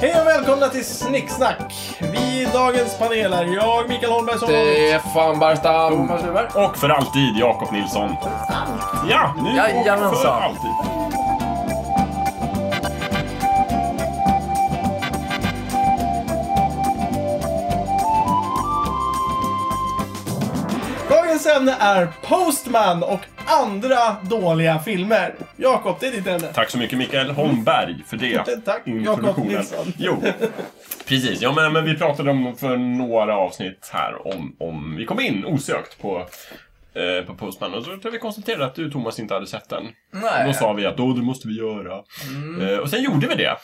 Hej och välkomna till Snicksnack! Vi i dagens panel är jag, Mikael Holmberg, som Stefan Barstam. vanligt. Och för alltid Jakob Nilsson. Ja, nu och för Jajamensan. alltid. Dagens ämne är Postman och andra dåliga filmer. Jakob, det är ditt ämne. Tack så mycket Mikael Holmberg för det. Tack, Jakob Introduktionen. Nilsson. Jo, precis. Ja, men, men vi pratade om för några avsnitt här om, om vi kom in osökt på eh, på Postman och så tror jag vi konstaterade att du Thomas inte hade sett den. Och Då Nej. sa vi att då, det måste vi göra. Mm. Eh, och sen gjorde vi det.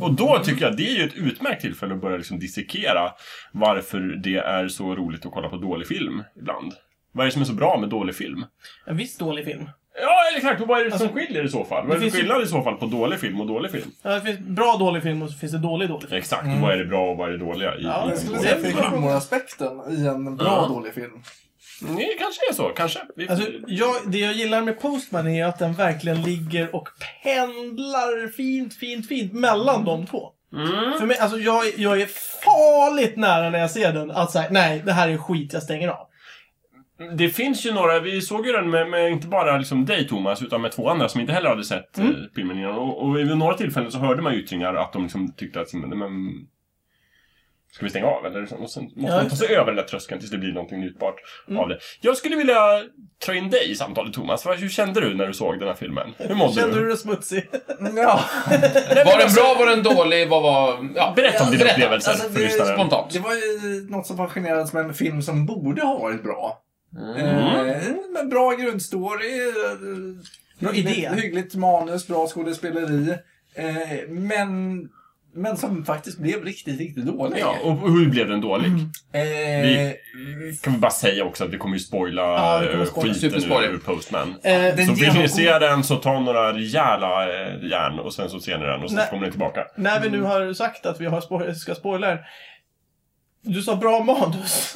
Och då tycker jag det är ju ett utmärkt tillfälle att börja liksom dissekera varför det är så roligt att kolla på dålig film ibland. Vad är det som är så bra med dålig film? En viss dålig film. Ja, eller exakt. Och vad är det som Alltså, skiljer i så fall? Vad det är det finns för ju- skillnad i så fall på dålig film och dålig film? Ja, Det finns bra dålig film och så finns det dålig dålig film. Exakt. Vad är det bra och vad är det dåliga? I, Mm. Ja, i jag den skulle dåliga säga filmen? film. humoraspekten i en bra Ja. dålig film. Nej, kanske är så. Kanske. Vi... Alltså, jag, det jag gillar med Postman är att den verkligen ligger och pendlar fint, fint, fint mellan de två. Mm. För mig, alltså jag, är- jag är farligt nära när jag ser den att säga nej, det här är skit, jag stänger av. Det finns ju några, vi såg ju den med, med inte bara liksom dig Thomas, utan med två andra som inte heller hade sett eh, filmen innan. Och, och vid några tillfällen så hörde man ju yttringar att de liksom tyckte att, men, men, ska vi stänga av eller? Och sen måste man ta just sig över den där tröskeln tills det blir någonting njutbart av det. Jag skulle vilja ta in dig i samtalet Thomas. Vad- Hur kände du när du såg den här filmen? Hur mådde Kände du dig smutsig? Mm, Ja, Var den bra, var den dålig, vad var... Ja, Berätta om dina Berätta. upplevelser Alltså, för det- lyssnaren. spontant. det var ju något som fascinerade som en film som borde ha varit bra. Eh, med bra grundstory, eh, Bra hyggligt, idé. hyggligt manus, bra skådespeleri. Eh, men, men som faktiskt blev riktigt, riktigt dålig. Ja, och hur blev den dålig? Eh, Vi- Kan vi bara säga också att vi kommer ju spoila Ja, vi kommer eh, spoila. skiten Superspoiler. ur, ur Postman. Eh, den Så vill ni genomgår- se den så ta några rejäla eh, järn och sen så ser ni den och sen Nej. så kommer ni tillbaka. när vi nu Mm. har sagt att vi har spo- ska spoila den. Du sa bra manus.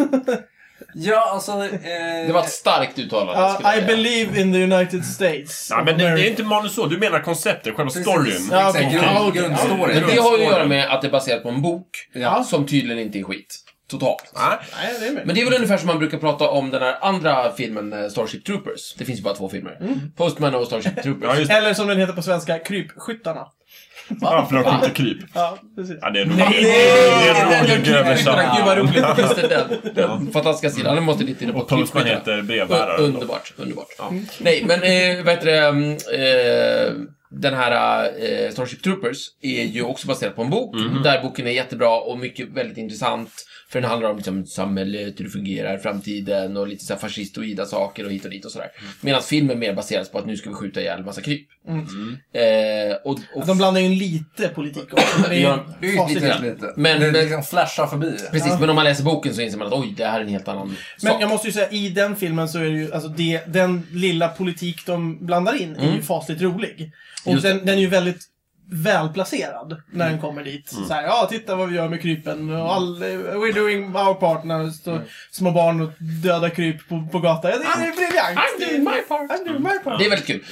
Ja, alltså... Eh, Det var ett starkt uttalande. Ja, skulle jag I säga. believe in the United States. Nej of men det, det är America. inte manus så, du menar konceptet, själva precis, storyn. Ja, exakt, okej. grund- Ja, okej. grundstoryn. Men det har ju att göra med att det är baserat på en bok Ja. som tydligen inte är skit. Totalt. Nej. Nej, det är med. Men det är väl ungefär som man brukar prata om den här andra filmen, eh, Starship Troopers. Det finns ju bara två filmer. Postman och Starship Mm. Ja, Troopers. just Eller som den heter på svenska, Krypskyttarna. Ja, förlåt, inte kryp. Ja, precis. Ja, det är en Ah. Nej, rolig- nej, det nej, är en nej, rolig den där krypskyttarna, Gud vad översättning. roligt. Just det, den. Den fantastiska sidan. Den måste dit in på Och Postman krypskyttarna. heter Un- brevbäraren. då. Underbart, underbart. Nej, men eh, vad heter det, mm, eh, den här eh, Starship Troopers är ju också baserad på en bok, där boken är jättebra och mycket väldigt intressant. För den handlar om liksom, samhället, hur det fungerar, framtiden och lite så här fascistoida saker och hit och dit och sådär. Medan filmen mer baseras på att nu ska vi skjuta ihjäl en massa kryp. Eh, och, och, De blandar in lite politik också. men Det Ja, är Det är ju ju facit. lite, lite. Men- det men- liksom flashar förbi. Precis, men om man läser boken så inser man att oj, det här är en helt annan Men sak. jag måste ju säga, i den filmen så är det ju, alltså det, den lilla politik de blandar in är ju fasligt rolig. Och Mm. Just det. Mm. den, den är ju väldigt välplacerad när den kommer dit. Så här, ja, titta vad vi gör med krypen. Och All, we're doing our part när det står Mm. små barn och döda kryp på, på gatan. Ja, det, det är briljant. I'm doing my part. I'm doing my part. Det är väldigt kul.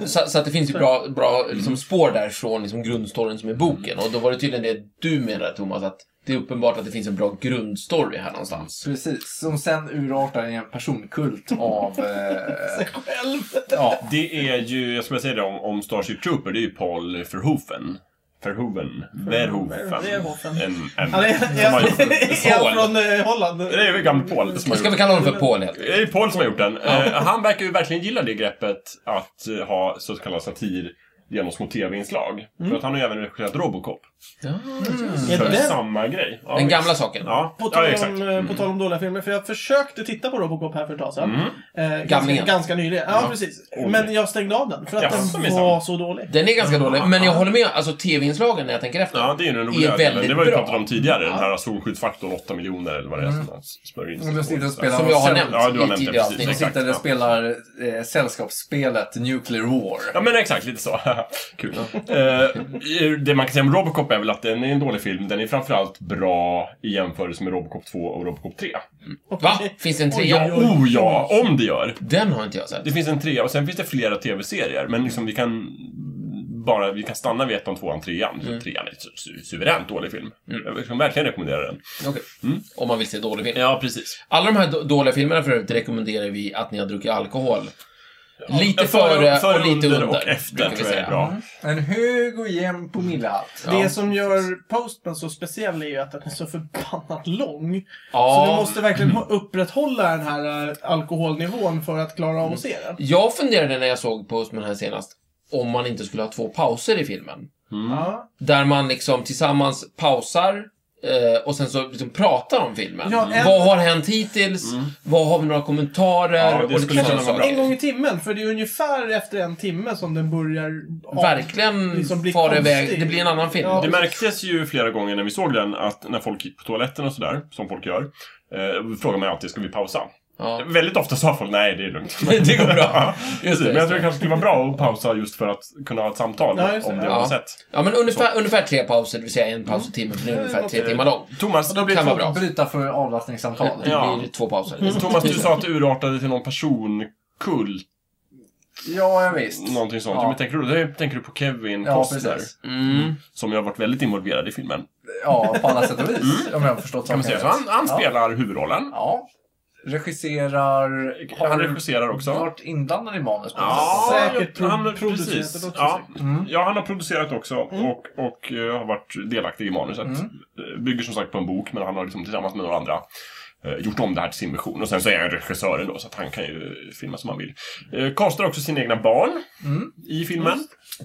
Eh, så, så att det finns ju bra, bra Mm. liksom, spår där från liksom, grundstoryn som är boken. Och då var det tydligen det du menade, Thomas, att det är uppenbart att det finns en bra grundstory här någonstans. Precis, som sen urartar i en personkult av... Eh, Själv. ja. Det är ju, jag skulle säga det om, om Starship Trooper, det är ju Paul Verhoeven. Verhoeven. Verhoeven. Verhoeven. En, en, Han är, som har gjort den. är, är från eh, Holland. Det är väl gamle Paul som har Ska gjort vi kalla honom för Paul helt Det är Paul som har gjort den. Eh, han verkar ju verkligen gilla det greppet att eh, ha så kallad satir genom små tv-inslag. För att han har ju även regisserat Robocop. Mm. Är För den- samma grej. Ja, Den visst. gamla saken. Ja, På tal, ja exakt. Mm. om, eh, på tal om dåliga filmer, för jag försökte titta på Robocop här för ett tag sedan. Eh, ganska, Gamlingen. ganska nyligen. Ja, precis. Men jag stängde av den, för att Ja, som den minsann. var så dålig. Den är ganska dålig, men jag håller med. Alltså, tv-inslagen när jag tänker efter. Ja, det är ju den roliga Är delen. väldigt Det var ju bra. pratat om tidigare. Den här solskyddsfaktorn 8 miljoner eller vad det är som man smörjer in Och då sitter och spelar- Som jag har Som- nämnt Ja, du har i nämnt det, tidigare precis. avsnitt. De Exakt, sitter ja. och spelar eh, sällskapsspelet Nuclear War. Ja men exakt, lite så. Kul. Eh, det man kan säga om Robocop är väl att den är en dålig film. Den är framförallt bra i jämförelse med Robocop 2 och Robocop 3. Va? Finns det en Ja, trea? oh ja! Om det gör! Mm. Den har inte jag sett. Det finns en trea och sen finns det flera tv-serier. Men liksom vi kan bara, vi kan stanna vid ettan, tvåan, trean. Mm. Trean är su- su- suveränt dålig film. Mm. Jag kan verkligen rekommendera den. Okej. Om man vill se dålig film. Ja, precis. Alla de här då- dåliga filmerna för övrigt rekommenderar vi att ni har druckit alkohol. Lite Ja, före och lite under. och efter brukar vi tror jag är säga. Mm. bra. En hög och jämn promillehalt. Det Ja. som gör Postman så speciell är ju att den är så förbannat lång. Så du Ja, måste verkligen Mm. ha- upprätthålla den här eh, alkoholnivån för att klara av att se den. jag funderade när jag såg Postman här senast om man inte skulle ha två pauser i filmen. Mm. Ja. Där man liksom tillsammans pausar eh, och sen så liksom pratar om filmen. Ja, en- Vad har hänt hittills? Vad har vi några kommentarer? Mm. Ja, det och skulle lite kunna sådana vara bra. saker. En gång i timmen, för det är ungefär efter en timme som den börjar... av- Verkligen liksom blir far iväg. konstig. Det blir en annan film. Ja. Det märktes ju flera gånger när vi såg den att när folk gick på toaletten och sådär, som folk gör, eh, frågar man ju alltid ska vi pausa. Ja. Väldigt ofta sa folk nej, det är lugnt. Det går bra. Just det, men jag just tror det. det kanske skulle vara bra att pausa just för att kunna ha ett samtal Ja, just det. om det Ja. man sett. Ja, men ungefär, ungefär tre pauser, det vill säga en Mm. paus i timmen, för det är ungefär tre timmar lång. Thomas, blir det Kan vara bra. Bryta för avlastningssamtal. Det Ja. blir två pauser. Mm. Mm. Thomas, du sa att det urartade till någon personkult, Ja, ja visst. någonting sånt. Ja. Men tänker du, det tänker du på Kevin Ja, Costner, precis. Mm. som ju har varit väldigt involverad i filmen. Ja, på alla sätt och vis. Om jag har förstått Mm. Kan man säga. saken Så han, han Ja. spelar huvudrollen. Ja. Regisserar... Han du regisserar också. varit inblandad i manus på Ja, något sätt? Säkert jag- han, pro- producerat precis. också, Ja. Mm. ja, han har producerat också och, och eh, har varit delaktig i manuset. Mm. Eh, Bygger som sagt på en bok, men han har liksom tillsammans med några andra eh, gjort om det här till sin version. Och sen så är han regissören då, så att han kan ju filma som han vill. Eh, Castar också sina egna barn Mm. i filmen.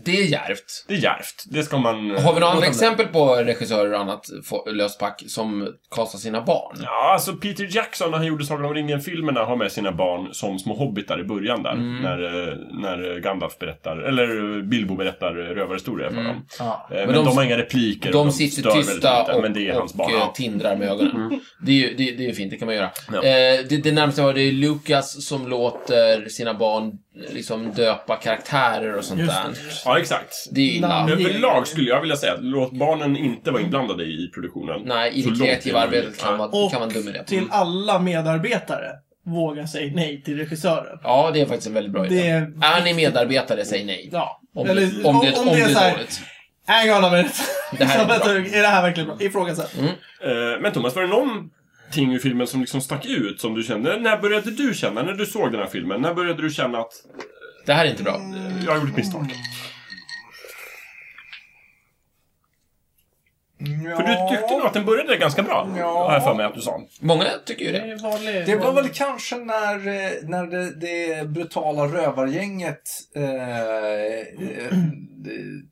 Det är djärvt. Det är djärvt. Det ska man... eh, Har vi några Låt andra dem. exempel på regissörer och annat få- löst pack som kastar sina barn? Ja, alltså Peter Jackson när han gjorde Sagan om ringen-filmerna har med sina barn som små hobbitar i början där. Mm. När, eh, när Gandalf berättar, eller eh, Bilbo berättar eh, rövarhistorier för dem. Ja. Eh, Men, Mm. de- de, har inga repliker. och De sitter stör väldigt tysta lite, och, Men det är hans barn. och eh, Ja. tindrar med ögonen. Mm. Det, är ju, det, det är ju fint, det kan man göra. Ja. Eh, det, det närmaste var det är Lucas som låter sina barn liksom döpa karaktärer och sånt Just där. Ja, exakt. Det är ju illa. Namn. Överlag skulle jag vilja säga att låt barnen inte vara inblandade i produktionen. Nej, i Så det långt kreativa det är möjligt. arbetet kan vara, Och kan vara en dum idé. Mm. Till alla medarbetare, våga säga nej till regissören. Ja, det är faktiskt en väldigt bra Det idé. är... Är ni medarbetare, säg nej. Ja. Om, Eller, det, om, det, om, det så är här, dåligt. Hang on a minute. Det här är bra. Mm. är, är det här verkligen bra? Ifrågasätt. Eh, Men Thomas, var det någonting ur filmen som liksom stack ut som du kände? När började du känna, när du såg den här filmen, när började du känna att Det här är inte bra. eh, jag gjorde ett misstag? För du tyckte nog att den började ganska bra. Ja. Har jag för mig att du sa. Många tycker ju Det det. är vanlig... Det var väl kanske när, eh, när det, det brutala rövargänget eh, eh, de-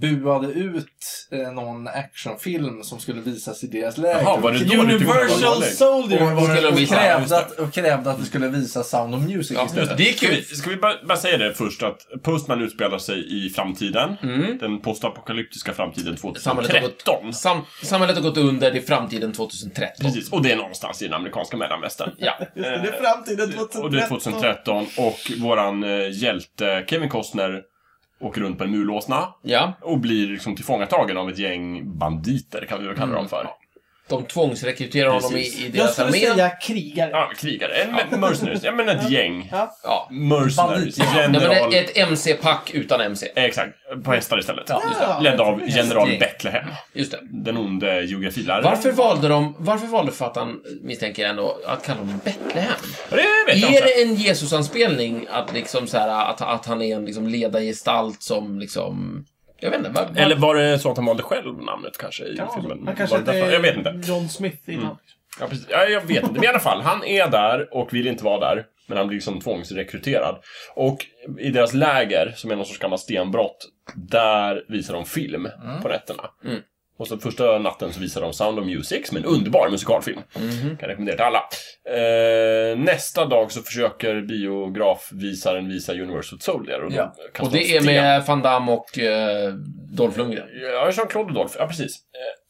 buade ut eh, någon actionfilm som skulle visas i deras läger. Jaha, var det då du tyckte den var Universal dålig? Soldier och, var det. skulle de och, visa, just krävde det. att, och krävde att vi skulle visa Sound of Music Ja, istället. det är Ska vi, kul. ska vi bara, bara säga det först att Postman utspelar sig i framtiden. Mm. Den postapokalyptiska framtiden Samhället har gått, 2013. sam, samhället har gått under i framtiden 2013. Precis, och det är någonstans i den amerikanska mellanvästern. Ja. Just det, det är framtiden 2013. Och Eh, det är 2013 och våran eh, hjälte Kevin Costner åker runt på en mulåsna ja. och blir liksom tillfångatagen av ett gäng banditer, kan vi väl kalla dem för. De tvångsrekryterar honom Precis. i, i Jag deras skulle armé. säga krigare. Ja, krigare. En- Mercenaries. Ja, men ett gäng. Ja. Ja. Mercenaries. Banditer. Ja, Nej, men General... ett, ett MC-pack utan MC. Eh, Exakt. På hästar istället. Ja. Ledd av general Gäng. Betlehem. Just det. Den onde geografiläraren. Varför valde de, varför valde författaren, misstänker jag ändå, att kalla honom Betlehem? Ja, Det vet jag Är inte. det en Jesusanspelning att liksom så här, att, att han är en liksom ledargestalt som liksom, jag vet inte. Var, var, Eller var det så att han valde själv namnet kanske i filmen? Han kanske Var det hette därför? Jag vet inte. Mm. John Smith innan. Ja, precis. Ja, jag vet inte. Men i alla fall, han är där och vill inte vara där. Men han blir liksom tvångsrekryterad. Och i deras läger, som är någon sorts gammal stenbrott, där visar de film på nätterna. Mm. Och så första natten så visar de Sound of Music, som är en underbar musikalfilm. Mhm. Kan rekommendera till alla. Eh, nästa dag så försöker biografvisaren visa Universal Soldier. Och, de Ja. kastar Och det är sten. med Van Damme och eh, Dolph Lundgren. Ja, Jean-Claude Dolph. Ja, precis. Eh,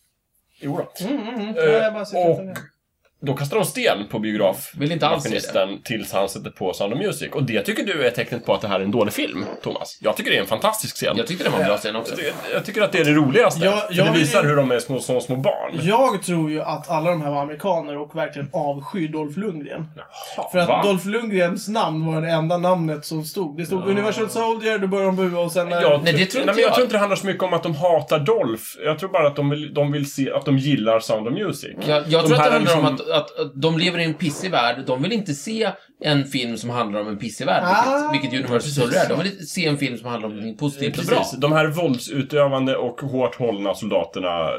jo då. Mm, mm, mm. Eh, Ja, jag bara sitter och- och tänker. Då kastar de sten på Vill inte alls se det. biografmaskinisten tills han sätter på Sound of Music. Och det tycker du är tecknet på att det här är en dålig film, Thomas? Jag tycker det är en fantastisk scen. Jag tyckte det var en bra scen också. Jag, jag tycker att det är det roligaste. Ja, för jag det vill- visar hur de är små, små, små barn. Jag tror ju att alla de här var amerikaner och verkligen avskyr Dolph Lundgren. För att Va? Dolph Lundgrens namn var det enda namnet som stod. Det stod Universal Soldier, då började de bua och sen... eh, Jag, Nej, det tror inte nej, men jag jag. tror inte det handlar så mycket om att de hatar Dolph. Jag tror bara att de vill, de vill se att de gillar Sound of Music. Jag, jag De tror att här det handlar liksom- om att, att, att de lever i en pissig värld. De vill inte se en film som handlar om en pissig värld, Ah. vilket, vilket Universal Soldier är. De vill se en film som handlar om någonting positivt och bra. Precis. De här våldsutövande och hårt hållna soldaterna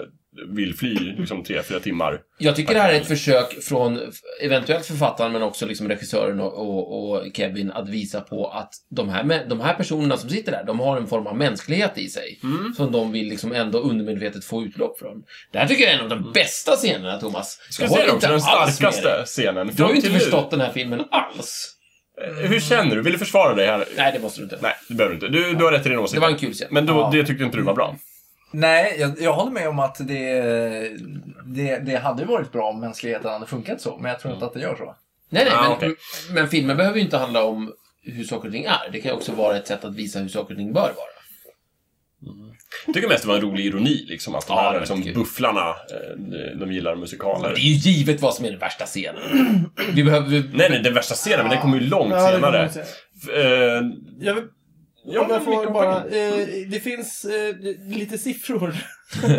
vill fly liksom tre, fyra timmar. Jag tycker det här är ett försök från f- eventuellt författaren, men också liksom regissören och, och, och Kevin, att visa på att de här, mä- de här personerna som sitter där, de har en form av mänsklighet i sig. Mm. Som de vill liksom ändå undermedvetet få utlopp från. Det här tycker jag är en av de bästa scenerna, Thomas. Mm. Ska jag säga det också? Den alls med dig. starkaste scenen. Du har ju Fram inte till nu. förstått den här filmen alls. Eh, Hur känner du? Vill du försvara dig här? Nej, det måste du inte. Nej, det behöver du inte. Du, du har rätt i din åsikt. Det var en kul scen. Men då, Ja. det tyckte inte du var bra. Nej, jag, jag håller med om att det, det, det hade ju varit bra om mänskligheten hade funkat så, men jag Mm. tror inte att det gör så. Nej, nej, Ah, men, okej. men filmen behöver ju inte handla om hur saker och ting är. Det kan ju också vara ett sätt att visa hur saker och ting bör vara. Jag tycker mest det var en rolig ironi, liksom. Att de Ja, det här var liksom, kul. bufflarna, eh, de- de gillar musikaler. Det är ju givet vad som är den värsta scenen. Vi behöver... vi- Nej, nej, den värsta scenen, men den kommer ju långt ja, det kommer senare. jag säga. F- eh, Jag vill, ja, om jag får Mikael, bara... Eh, det finns eh, lite siffror.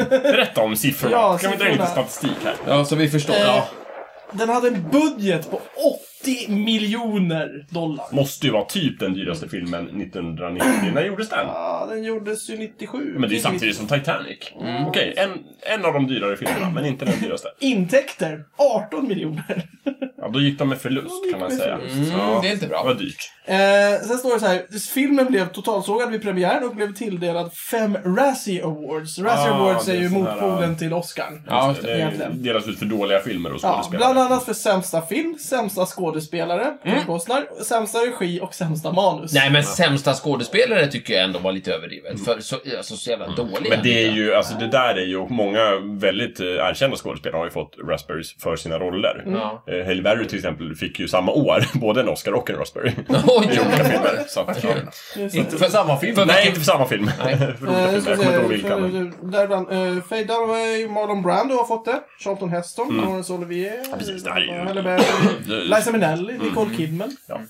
Berätta om siffrorna. Ja, kan vi dra in lite siffrorna. statistik här? Ja, så vi förstår. Eh, Ja. Den hade en budget på 80 miljoner dollar. Måste ju vara typ den dyraste filmen 1990. När gjordes den? Ja, den gjordes ju 97. Men det är ju samtidigt som Titanic. Okej, en, en av de dyrare filmerna, men inte den dyraste. Intäkter 18 miljoner. Ja, då gick de med förlust, kan man säga. Mm, ja, det är inte bra. Det var dyrt. Eh, sen står det så här. Filmen blev totalsågad vid premiären och blev tilldelad fem Razzie Awards. Razzie Ah, Awards är det är ju sån här, eh, motpolen till Oscar. Ja, Just det, det egentligen. Eh, delas ut för dåliga filmer och Ja, skådespelare. Mm. bland annat för sämsta film, sämsta skådespelare, filmkonstnär, sämsta regi och sämsta manus. Nej, men sämsta skådespelare tycker jag ändå var lite överdrivet. För så, alltså, så jävla dåliga. Mm. Men det är ju, alltså det där är ju, och många väldigt eh, erkända skådespelare har ju fått Raspberries för sina roller. Mm. Ja. Eh, Halle Berry till exempel fick ju samma år både en Oscar och en Raspberry. I Oj, olika filmer. Så att, ja. Just det. Inte för samma film. För- Nej, inte för samma film. Nej. för Eh, olika jag filmer. ska Jag kommer inte ihåg se, vilka. Men... för- Däribland eh, Faye Dunaway, Marlon Brando har fått det. Charlton Heston, Laurence Olivier, Mm. precis, det här är ju- Mm. Halle Berry, Liza Minnelli, Nicole Kidman, Ja.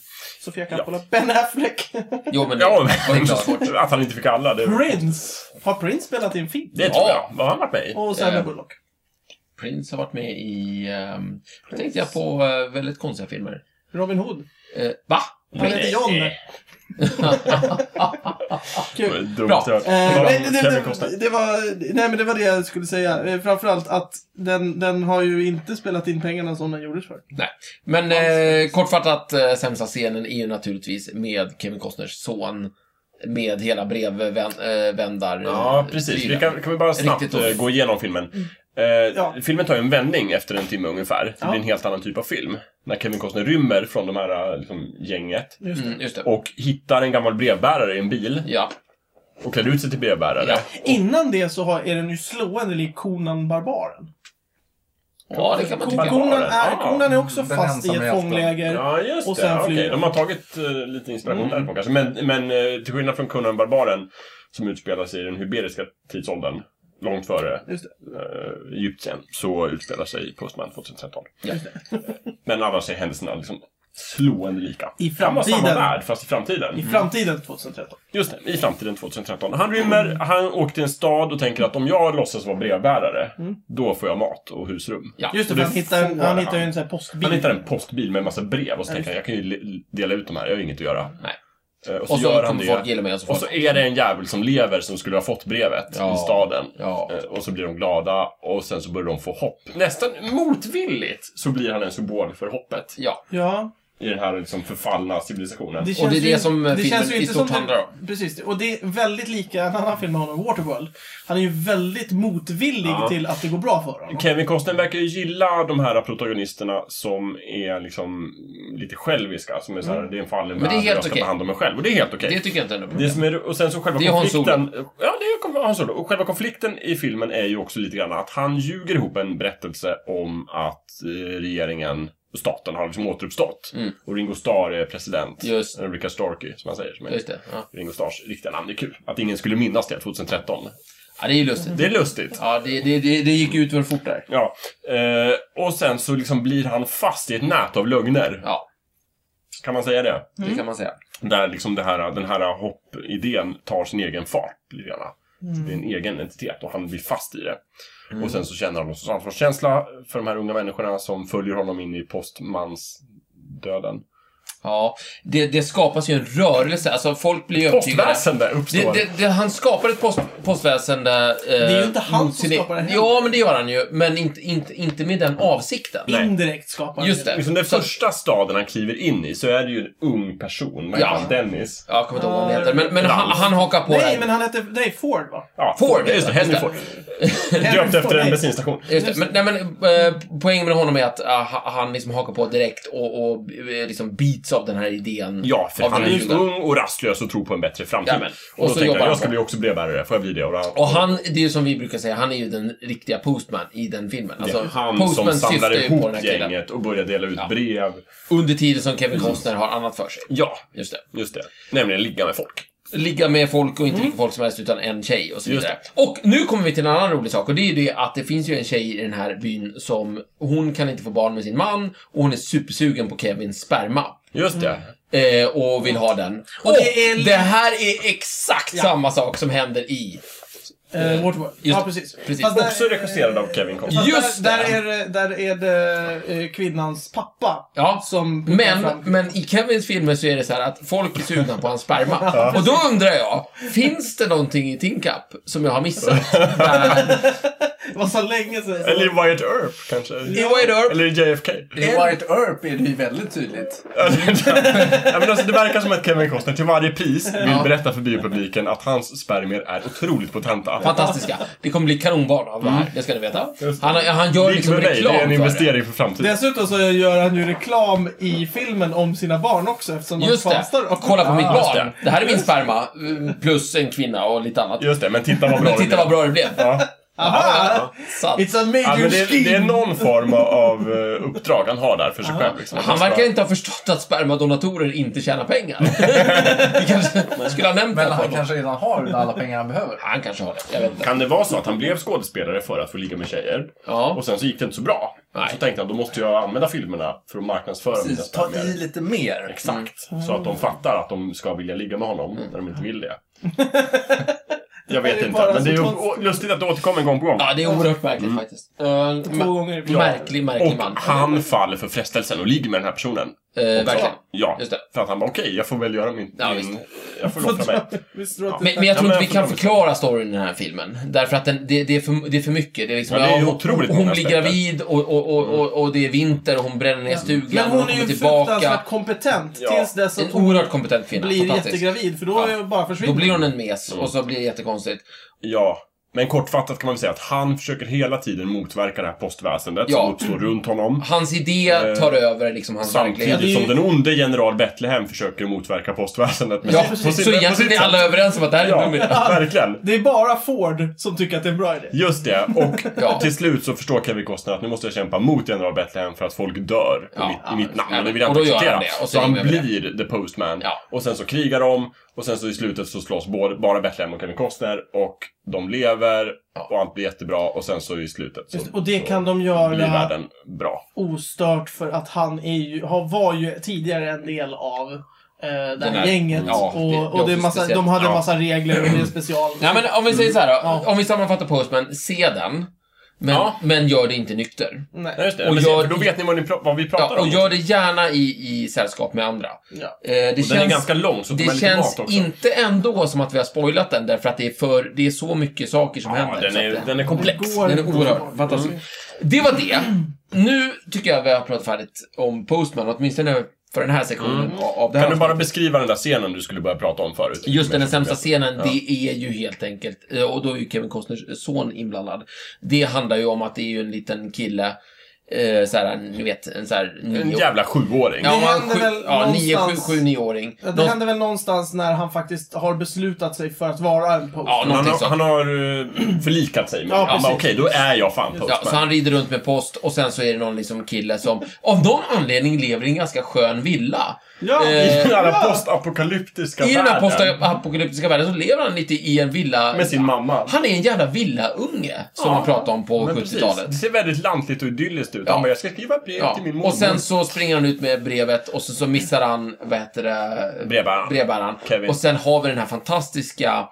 Sofia Coppola, Ben Affleck. Jo, men det Ja, var men inte svårt. att han inte fick alla. Det, Prince! Har Prince spelat i en film? det tror Ja. jag. Vad har han varit med i? Och Sandra Eh, Bullock. Prince har varit med i... Um, då tänkte jag på eh, väldigt konstiga filmer. Robin Hood. Eh, va? Han heter John. Kul. Dumt Bra. hört. Eh, Bra, nej, det, Kevin det, Costner. det, var, nej, men det var det jag skulle säga. Eh, Framförallt att den, den har ju inte spelat in pengarna som den gjordes för. Nej. Men eh, kortfattat, eh, sämsta scenen är ju naturligtvis med Kevin Costners son. Med hela eh, brevvändar... Ja, precis. Vi kan, kan vi bara snabbt Riktigt off. eh, gå igenom filmen. Eh, Ja. Filmen tar ju en vändning efter en timme ungefär. Det Ja. blir en helt annan typ av film. När Kevin Costner rymmer från de här eh, liksom, gänget Just det. Mm, just det. och hittar en gammal brevbärare i en bil Ja. och klär ut sig till brevbärare. Ja. Innan det så har, är den ju slående lik Konan Barbaren. ja, det kan man tycka. Cool. Konan är, Ja. konan är också Den fast i ensamma ett hjälten. fångläger. Ja, just Och och sen det. Okej, flyger. de har tagit eh, lite inspiration därifrån kanske. Men, men eh, till skillnad från Kungen och Barbaren, som utspelar sig i den hyberiska tidsåldern, långt före Just eh, Egypten, så utspelar sig Postman 2013. Ja. Men annars är händelserna liksom slående lika. I Kan vara samma framtiden. värld, fast i framtiden. I Mm. framtiden 2013. Just det, i framtiden 2013. Han rymmer, han åker till en stad och tänker att om jag låtsas vara brevbärare, då får jag mat och husrum. Ja. Mm. Just det, Och för han hittar, får han hittar ju en sån här postbil. han hittar en postbil med en massa brev och så tänker han, jag kan ju le- dela ut de här, jag har inget att göra. Nej. Eh, Och så, Och så gör han kommer folk det. gilla mig och så får Och så är det en jävel som lever som skulle ha fått brevet Ja. i staden. Ja. Eh, Och så blir de glada och sen så börjar de få hopp. Nästan motvilligt så blir han en symbol för hoppet Ja. Ja. i den här liksom förfallna civilisationen. Det det är det ju- som eh, filmen känns ju i inte som stort den- handlar om. Precis, och det är väldigt lika en annan film med honom, Waterworld. Han är ju väldigt motvillig Ja. till att det går bra för honom. Kevin Costner verkar ju gilla de här protagonisterna som är liksom lite själviska. Som är såhär, det är en fallen Mm. det är värld och helt jag ska okej. ta hand om mig själv. Och det är helt okej. Det tycker jag inte är något Det problem. som är, och sen så själva Det är Hans konflikten... Ja, det är kom- Han Solo. Och själva konflikten i filmen är ju också lite grann att han ljuger ihop en berättelse om att eh, regeringen och staten har liksom återuppstått. Mm. Och Ringo Starr är president. Just. Eller Rickard Storky, som han säger. Som är Just det. Ja. Ringo Starrs riktiga namn. Det är kul att ingen skulle minnas det 2013. ja, det är ju lustigt. Det är lustigt. Ja, det, det, det, det gick ut för fort där. Ja. Eh, och sen så liksom blir han fast i ett nät av lögner. Ja, Kan man säga det? Mm. det kan man säga. Där liksom det här, den här hoppidén tar sin egen fart. Lite grann. Det är en egen entitet och han blir fast i det. Mm. Och sen så känner han någon sorts ansvarskänsla för de här unga människorna som följer honom in i postmansdöden. Ja, det, det skapas ju en rörelse. Alltså, folk blir ju övertygade. Postväsende Det, uppstår! det, det, han skapar ett post, postväsende... Eh, det är ju inte han som skapar det det. heller. Ja, men det gör han ju. Men inte, inte, inte med den avsikten. Nej. Indirekt skapar Just det. Liksom den Så- första staden han kliver in i så är det ju en ung person. Vad Ja. heter han? Dennis? Ja, Jag kommer inte ihåg vad han heter. Men, men han, han hakar på Nej, det. men han hette... Nej, Ford va? Ja, Ford, Just det, Henry just det. Ford. Döpt efter en Nej. bensinstation. Just det. Men, nej, men, eh, poängen med honom är att ah, ha- han liksom hakar på direkt och, och eh, liksom bits av den här idén. Ja, för av han är den här ju juden. ung och rastlös och tror på en bättre framtid. Jajamän. och, Och så då tänker jobbar han, jag han ska på. bli också brevbärare. Får jag bli det? Och, han- Och han, det är ju som vi brukar säga, han är ju den riktiga postman i den filmen. det Alltså, är han som postman samlar syftar ju på ihop den här killen. gänget och börjar dela ut Ja. brev. Under tiden som Kevin Costner har annat för sig. Ja, Just det. just det. Nämligen ligga med folk. Ligga med folk och inte vilka folk som helst, utan en tjej och så Just vidare. Och nu kommer vi till en annan rolig sak och det är ju det att det finns ju en tjej i den här byn som, hon kan inte få barn med sin man och hon är supersugen på Kevins sperma. Just det. Eh, och vill ha den. Och det, det är- här är exakt samma sak som händer i... Eh, Waterworld. Just- ja, precis. precis. Fast där- Också regisserad av Kevin Costner. Fast Just där, det. där, är, det- där är det eh, kvinnans pappa Mm, Ja. som puttar Men, fram- men i Kevins filmer så är det så här att folk är sugna på hans sperma. Och då undrar jag, finns det någonting i Tinkap som jag har missat? Där, Det var så länge sedan. Eller i Wyatt Earp, kanske. I Wide Earp. Eller i JFK. I Mm. White Earp är det ju väldigt tydligt. ja, men alltså, det verkar som att Kevin Costner till varje pris vill Ja. berätta för biopubliken att hans spermier är otroligt potenta. Fantastiska. Det kommer bli kanonbarn av det här, det ska ni veta. Just det. Han, han Det gör gick liksom med mig. Det är en reklam för det. investering för framtiden. Dessutom så gör han ju reklam i filmen om sina barn också eftersom Just de det. fastar. Och Kolla på mitt Ah, just barn. det. Det här är min sperma. eh, Plus en kvinna och lite annat. Just det, men titta vad bra Men titta det vad blev. bra det blev. Ja. Aha! Sant. It's a major Ja, men det, är- det är någon form av eh, uppdrag han har där för sig själv. Liksom. Han verkar inte ha förstått att spermadonatorer inte tjänar pengar. Vi kanske skulle ha nämnt det här Men för han honom. kanske redan har alla pengar han behöver. Han kanske har det, jag vet inte. Kan det vara så att han blev skådespelare för att få ligga med tjejer? Ja. Och sen så gick det inte så bra. Nej. Så tänkte han, då måste jag använda filmerna för att marknadsföra mina Precis, ta i spermier. lite mer. Exakt. Så att de fattar att de ska vilja ligga med honom när de inte vill det. Jag Det vet är inte, bara men det är ju så å- lustigt att det återkommer gång på gång. ja, det är oerhört märkligt faktiskt. En Två gånger i märklig, märklig man. Mm. Och han faller för frestelsen och ligger med den här personen. Eh, verkligen. Ja, Just det. för att han bara, okej, jag får väl göra min... Ja, min visst. jag får låta mig. Visst tror jag att Men, det- men jag tror Ja, men inte vi kan förstår. förklara storyn i den här filmen. Därför att den, det, det, är för, det är för mycket. Det är liksom, Ja, det är ju hon- otroligt hon, många blir aspekter. gravid och, och, och, och, och det är vinter och hon bränner ner stugan. Men hon är ju kommer tillbaka. fruktansvärt kompetent Ja. tills dess En att hon oerhört kompetent kvinna. blir Fantastisk. jättegravid för då Ja. är bara Då försvinner blir hon en mes och så blir det jättekonstigt. Ja. Men kortfattat kan man väl säga att han försöker hela tiden motverka det här postväsendet som Ja. uppstår runt honom. Hans idé tar över liksom hans verklighet. Mm. Samtidigt det är som ju- den onde general Betlehem försöker motverka postväsendet. med Ja, sitt- på så sitt- på sitt egentligen är sätt. alla överens om att det här är en dum idé. Ja, verkligen. Det är bara Ford som tycker att det är en bra idé. Just det. Och Ja. till slut så förstår Kevin Costner att nu måste jag kämpa mot general Betlehem för att folk dör på Ja, mitt, ja, i mitt namn. ja, och det vill jag och då inte gör acceptera. han det, och så så han ringer vi det. blir the postman. Ja. Och sen så krigar de. Och sen så i slutet så slåss både, bara Betlehem och Kevin Costner. Och de lever. Och allt blir jättebra. Och sen så i slutet så, Just, och det så kan de blir göra världen bra. ostört för att han är ju, har, var ju tidigare en del av eh, det här här- gänget. ja, det- det är och och det är också massa, speciellt. de hade Ja. en massa regler och det är special. Nej, men om vi säger så här då. Ja. Om vi sammanfattar Postman, se den. Men, Ja. men gör det inte nykter. Ja, Nej. just det. Och Men jag- se, för då vet ni vad, ni pra- vad vi pratar Ja, och om. gör det gärna i, i sällskap med andra. Eh, Ja. det Och den är ganska lång, så det man lite mat känns också. inte ändå som att vi har spoilat den, därför att det är, för, det är så mycket saker som Ja, händer. den så är, att, det- den är komplex. går den är inte Mm. oerhört att- fantastisk. Det var det. Nu tycker jag vi har pratat färdigt om Postman, åtminstone för den här sektionen av- av det här Mm. Kan du bara avsnittet. beskriva den där scenen du skulle börja prata om förut? Just den här sämsta scenen, det är ju helt enkelt, eh, och då är ju Kevin Costners son inblandad. Det handlar ju om att det är ju en liten kille eh, så här, ni vet, en så här En nio... jävla sjuåring. Det Ja, händer sju, väl ja, nio, sju, någonstans. sju, nioåring. Det Någon- händer väl någonstans när han faktiskt har beslutat sig för att vara en post. Ja, han, någonting har, sånt. han har eh, förlikat sig med Ja, ja, Han bara, precis. okej, då är jag fan Ja, postman. så han rider runt med post och sen så är det någon liksom kille som av någon anledning lever i en ganska skön villa. Ja, I den här Ja. postapokalyptiska eh, I den här världen. postapokalyptiska världen så lever han lite i en villa. Med sin mamma. Han är en jävla villaunge, som Ja, man pratade om på Men precis, 70-talet. Det ser väldigt lantligt och idylliskt ut. Ja. Han bara, jag ska skriva ett brev Ja. till min mormor. Och sen så springer han ut med brevet och så, så missar han, vad heter det, Brevbäraren. brevbäraren. Kevin. Och sen har vi den här fantastiska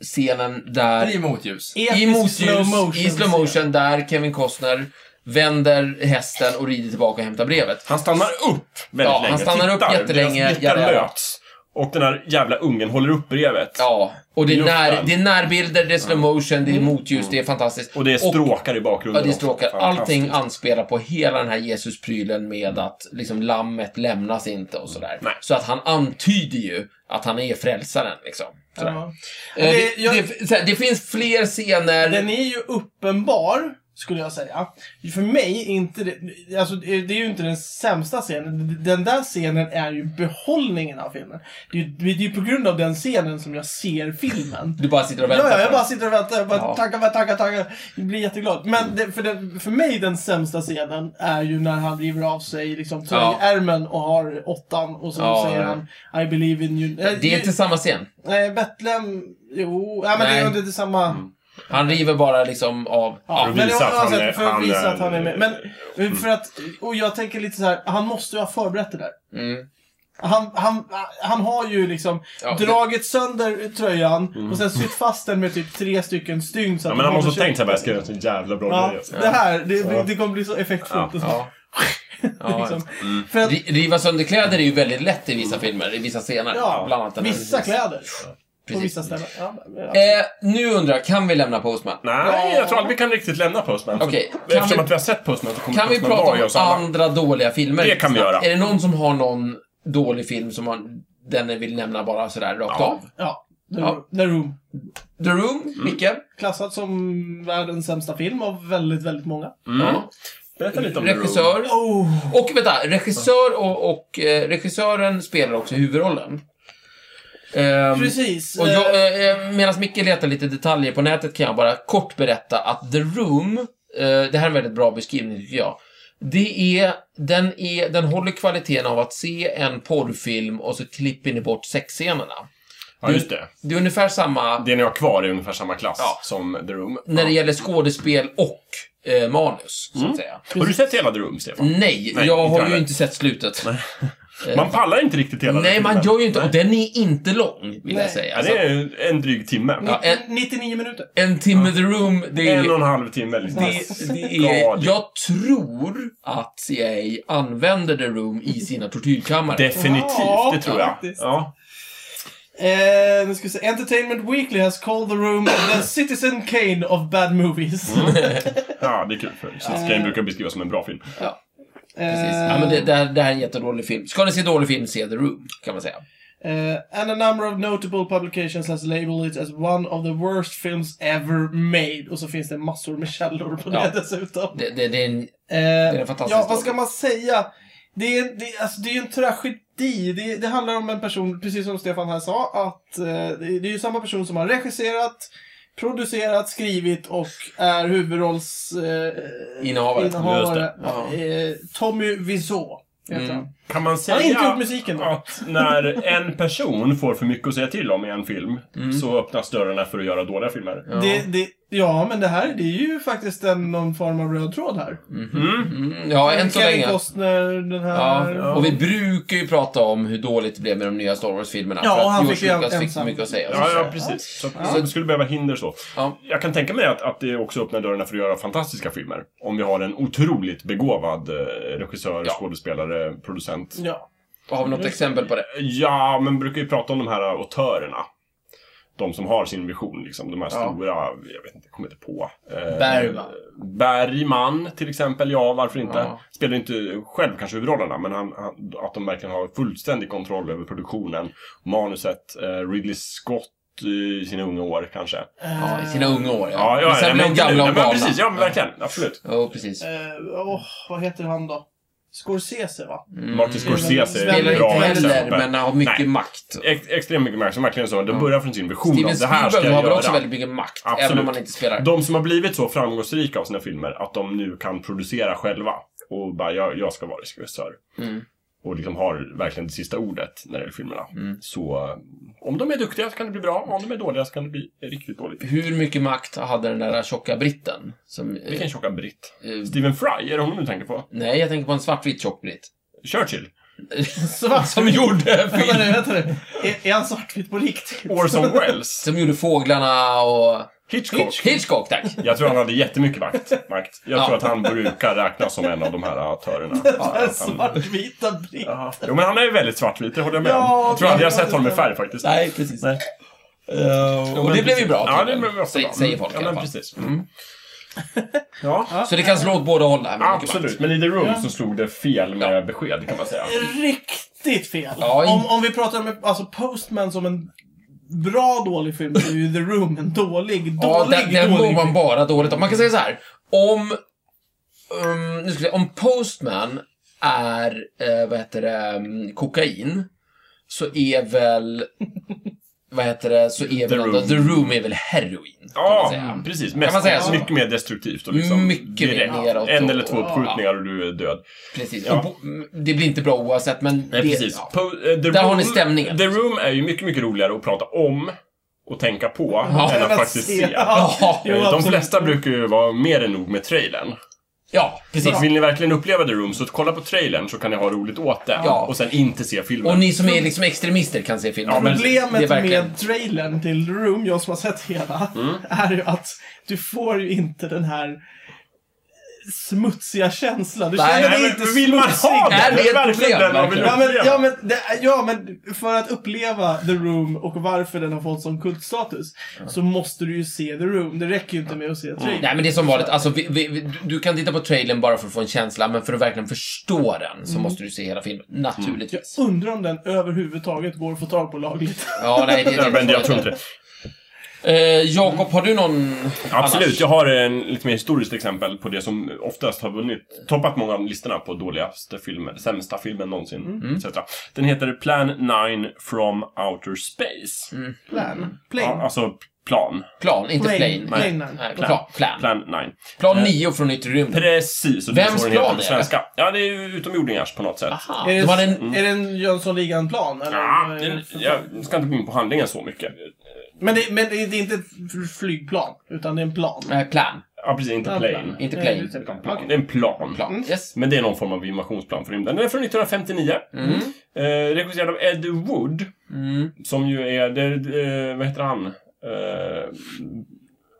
scenen där I motljus. i Episk slow motion. motljus, i slow motion, där Kevin Costner vänder hästen och rider tillbaka och hämtar brevet. Han stannar upp väldigt Ja, han länge. stannar upp Tittar, jättelänge, Deras blickar jävla- möts. Och den här jävla ungen håller upp brevet. Ja, och det är, Luften. när, det är närbilder, det är slow motion, det Mm. är motljus, det är fantastiskt. Och det är stråkar i Ja, bakgrunden det är också. stråkar. Allting Fantastiskt. anspelar på hela den här Jesusprylen med Mm. att liksom lammet lämnas inte och sådär. Nej. Så att han antyder ju att han är frälsaren liksom. Sådär. Ja. Eh, Det- Det, jag- det, såhär, det finns fler scener. Den är ju uppenbar, skulle jag säga. För mig, är inte det, alltså, det är ju inte den sämsta scenen. Den där scenen är ju behållningen av filmen. Det är ju, det är ju på grund av den scenen som jag ser filmen. Du bara sitter och väntar Ja, ja, jag på den. bara sitter och väntar. Jag bara Ja. tackar, bara tackar, tackar. Jag blir jätteglad. Men det, för, den, för mig, den sämsta scenen är ju när han river av sig liksom, Ja. tröjärmen och har åttan och så Ja, säger ja. han I believe in you. Eh, Det är inte samma scen. Nej, Betlehem... Jo, ja, men det Nej. Mm. är under det samma... Han river bara liksom av... Ja, För att men visa det- att han alltså, är- för att han visa är- att han är med. Men eh, för att, och jag tänker lite så här, han måste ju ha förberett det där. Mm. Han, han, han har ju liksom Ja, det- dragit sönder tröjan och sen sytt fast den med typ tre stycken stygn. Så Mm. Ja, att men han de måste håller ha sig- tänkt sig att jag ska göra en så jävla bra Ja, grej. alltså. det här, det, det kommer bli så effektfullt. Ja, Mm. och så. Ja. Ja, liksom. För att, Ri- Riva sönder kläder är ju väldigt lätt i vissa filmer, i vissa scener. bland Mm. ja, annat den här. vissa kläder. På Precis. vissa ställen. Ja, men- ja. Eh, nu undrar, kan vi lämna Postman? Nej, Ja. jag tror aldrig vi kan riktigt lämna Postman. Okej, För- Eftersom kan vi- att vi har sett Postman så kommer Kan vi Postman prata vara i om oss alla. andra dåliga filmer? Det kan vi snabbt? göra. Är det någon som har någon dålig film som man, den ni vill nämna bara sådär rakt Ja. Mm. av? ja. The, Ja. The Room. The Room, Micke? Klassad som världens sämsta film av väldigt, väldigt många. Ja. Berätta lite om Room. Regissör. Oh. Och vänta, regissör och, och eh, regissören spelar också huvudrollen. Ehm, Precis. Och eh, jag, eh, medan Micke letar lite detaljer på nätet kan jag bara kort berätta att The Room, eh, det här är en väldigt bra beskrivning tycker jag. Det är, den, är, den håller kvaliteten av att se en porrfilm och så klipper ni bort sexscenerna. Ja, just det. Det är ungefär samma Det ni har kvar är ungefär samma klass Ja. som The Room. när det Ja. gäller skådespel och eh, manus, så att säga. Har du sett hela The Room, Stefan? Nej, Nej, jag inte har ju heller. inte sett slutet. Man pallar inte riktigt hela eh. Nej, den man filmen. gör ju inte Och den är inte lång, vill jag Nej. säga. Ja, Alltså, det är en dryg timme. Ja, eh, en, 99 minuter. en timme The Room, det är... En och en halv timme. Liksom. Det, det är, jag tror att CIA använder The Room i sina tortyrkammare. Definitivt, Ja, det tror jag. faktiskt. Ja. Eh, nu ska vi se. Entertainment Weekly has called the room the Citizen Kane of bad movies. Mm. ja, det är kul. För Eh. Sitskane brukar beskrivas som en bra film. ja, Eh, precis. Ja, men det, det, här, det här är en jättedålig film. Ska ni se dålig film, se The Room, kan man säga. Eh, and a number of notable publications has labeled it as one of the worst films ever made. Och så finns det massor med källor på Ja. det dessutom. Det, det, det är en, Eh, en fantastisk ja, vad story. ska man säga? Det är, det, alltså, det är ju en tragedi. Det, det handlar om en person, precis som Stefan här sa, att eh, det, det är ju samma person som har regisserat, producerat, skrivit och är huvudrolls... Eh, Innehavare. innehavare. Just Eh, Tommy Wiseau heter Mm. han. Kan man Han säga har inte gjort musiken då. att när en person får för mycket att säga till om i en film Mm. så öppnas dörrarna för att göra dåliga filmer. Ja. Det, det, ja, men det här det är ju faktiskt en, någon form av röd tråd här. Mm. Mm, ja, än så Kevin länge. Costner, den här... Ja, och vi brukar ju prata om hur dåligt det blev med de nya Star Wars-filmerna. Ja, för att och han George fick ju Lucas fick ensam. mycket att säga. Ja, ja, precis. Så Ja. så skulle behöva hinder så. Ja. Jag kan tänka mig att, att det också öppnar dörrarna för att göra fantastiska filmer. Om vi har en otroligt begåvad eh, regissör, Ja. skådespelare, producent. Ja. Har vi något exempel på det? Ja, men brukar ju prata om de här autörerna. De som har sin vision, liksom. De här stora, jag vet inte, jag kommer inte på. Eh, Bergman. Bergman, till exempel. Ja, varför inte? Ja. Spelar inte själv kanske huvudrollerna, men han, han, att de verkligen har fullständig kontroll över produktionen, manuset, eh, Ridley Scott i sina unga år kanske. Ja, i sina unga år. Ja, ja, Men sen ja, blir de men, gamla ja, och men galna. precis. Ja, men verkligen. Absolut. Ja, precis. Eh, åh, vad heter han då? Scorsese, va? Mm. Martin Scorsese är Spelar ett inte bra heller, exempel. men har mycket Nej. makt. Ex- extremt mycket makt som verkligen så. De börjar från sin vision Steven av det här ska Spielberg har jag väl också göra. väldigt mycket makt, Absolut. även om han inte spelar. De som har blivit så framgångsrika av sina filmer att de nu kan producera själva och bara, jag, jag ska vara regissör. Mm. Och liksom har verkligen det sista ordet när det gäller filmerna. Mm. Så eh, om de är duktiga så kan det bli bra, om de är dåliga så kan det bli riktigt dåligt. Hur mycket makt hade den där tjocka britten? Som, eh, Vilken tjocka britt. eh, Stephen Fry, är det honom du tänker på? nej, jag tänker på en svartvit tjock britt. Churchill? Svart. Som gjorde Vänta film, nu, vänta nu. Är, är han svartvit på riktigt? Orson Welles? Som gjorde Fåglarna och... Hitchcock? Hitchcock, tack! Jag tror han hade jättemycket makt. makt. Jag Ja. tror att han brukar räknas som en av de här aktörerna. Det är Att han- Svartvita britt. Jaha. Jo men han är ju väldigt svartvit, det håller jag med om. Ja, Jag tror aldrig jag det- sett honom i färg faktiskt. Nej, precis. Nej. Eh, och det blev ju bra. Ja, det tydligen. blev också Sä- bra. Mm. Säger folk ja, i alla men fall. precis. Mm. Ja, Så det kan slå åt båda håll där. med mycket makt. absolut. Men i The Room så slog det fel med besked kan man säga. Riktigt fel. Ja, in- om, om vi pratar om alltså Postman som en bra dålig film så är ju The Room en dålig, Ja, dålig, den, den mår dålig man film. bara dåligt om. Man kan säga så här. Om... Um, nu ska jag, om Postman är, eh, vad heter det, mm, kokain, så är väl... vad heter det, så är The väl ändå, Room. The Room är väl heroin. kan man Ja, säga. Mm. precis. man säga Mest, så? mycket mer destruktivt. Och liksom Mycket mer direkt. neråt En och- eller två uppskjutningar och du är död. Precis. Ja. Och bo- mm, Det blir inte bra oavsett, men... Nej, det, precis. ja. Po- eh, The Där har Room- ni stämningen. The Room är ju mycket, mycket roligare att prata om och tänka på än Men att faktiskt se. Ja, Ja, jo, Eh, De absolut. flesta brukar ju vara mer än nog med trailern. ja, Så precis. att vill ni verkligen uppleva The Room, så kolla på trailern så kan ni ha roligt åt det. Ja. Och sen inte se filmen. Och ni som är liksom extremister kan se filmen. Ja, men- Det är Problemet verkligen- med trailern till The Room, jag som har sett hela, är ju att du får ju inte den här smutsiga känslan. Du Nej, känner Nej, dig men inte vill man ha smutsig. Nej, det? det är ett verkligen problem, den man vill Ja uppleva. men, ja, men det, ja men för att uppleva The Room och varför den har fått sån kultstatus så måste du ju se The Room. Det räcker ju inte med att se trailern. Nej men det är som vanligt, alltså, vi, vi, vi, du- du kan titta på trailern bara för att få en känsla, men för att verkligen förstå den så måste du se hela filmen. Jag Naturligtvis. undrar om den överhuvudtaget går att få tag på lagligt. Ja, nej, det, det, Nej, men jag tror inte det. Eh, Jakob, har du någon Absolut, annars? jag har en lite mer historiskt exempel på det som oftast har vunnit, toppat många av listorna på dåligaste filmer, sämsta filmen någonsin, Mm. etc. Den heter Plan 9 from Outer Space. Mm. Plan. Ja, Plane. alltså plan. Plan, inte Plane. plane. Plane Nej, nine. nej, Plan. plan. Plan. Plan 9. Plan 9 från yttre rymden. Precis, och det är Vems så den heter plan på är Ah. svenska. Ja, det är ju utomjordingars på något sätt. Aha. Är Det det, var en... är det en Jönssonligan-plan? eller? Ja, Vad är det den, för plan? jag ska inte gå in på handlingen så mycket. Men, det, men det är inte ett flygplan, utan det är en plan. Nej, eh, plan. Ja, precis, inte Ja, plane. Inte Nej, plane, just det, Utan plan. plan. Det är en plan. Plan. Yes. Men det är någon form av invasionsplan för rymden. Den är från 1959. Mm. Eh, regisserad av Ed Wood. Mm. Som ju är, det, eh, vad heter han? Eh,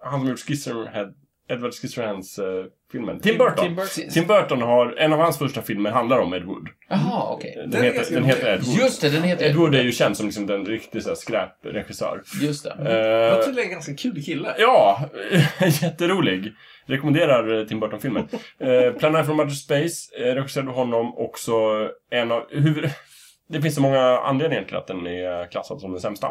han som gjort Scissorhead, Edward Scissorhands eh, filmen. Tim Burton. Tim, Tim Burton. Burton har, en av hans första filmer handlar om Ed Wood. Jaha, okej. Den, Den är heter, ganska den heter Ed Wood. Just det, den heter... Ed Wood är ju känd som liksom den riktiga så här, skräpregissör. Just det. Eh, Jag tycker det är en ganska kul kille. Ja, jätterolig. Rekommenderar eh, Tim Burton-filmen. Eh, Planar from Outer Space eh, regisserade honom också en av huvud... Det finns så många anledningar till att den är klassad som den sämsta.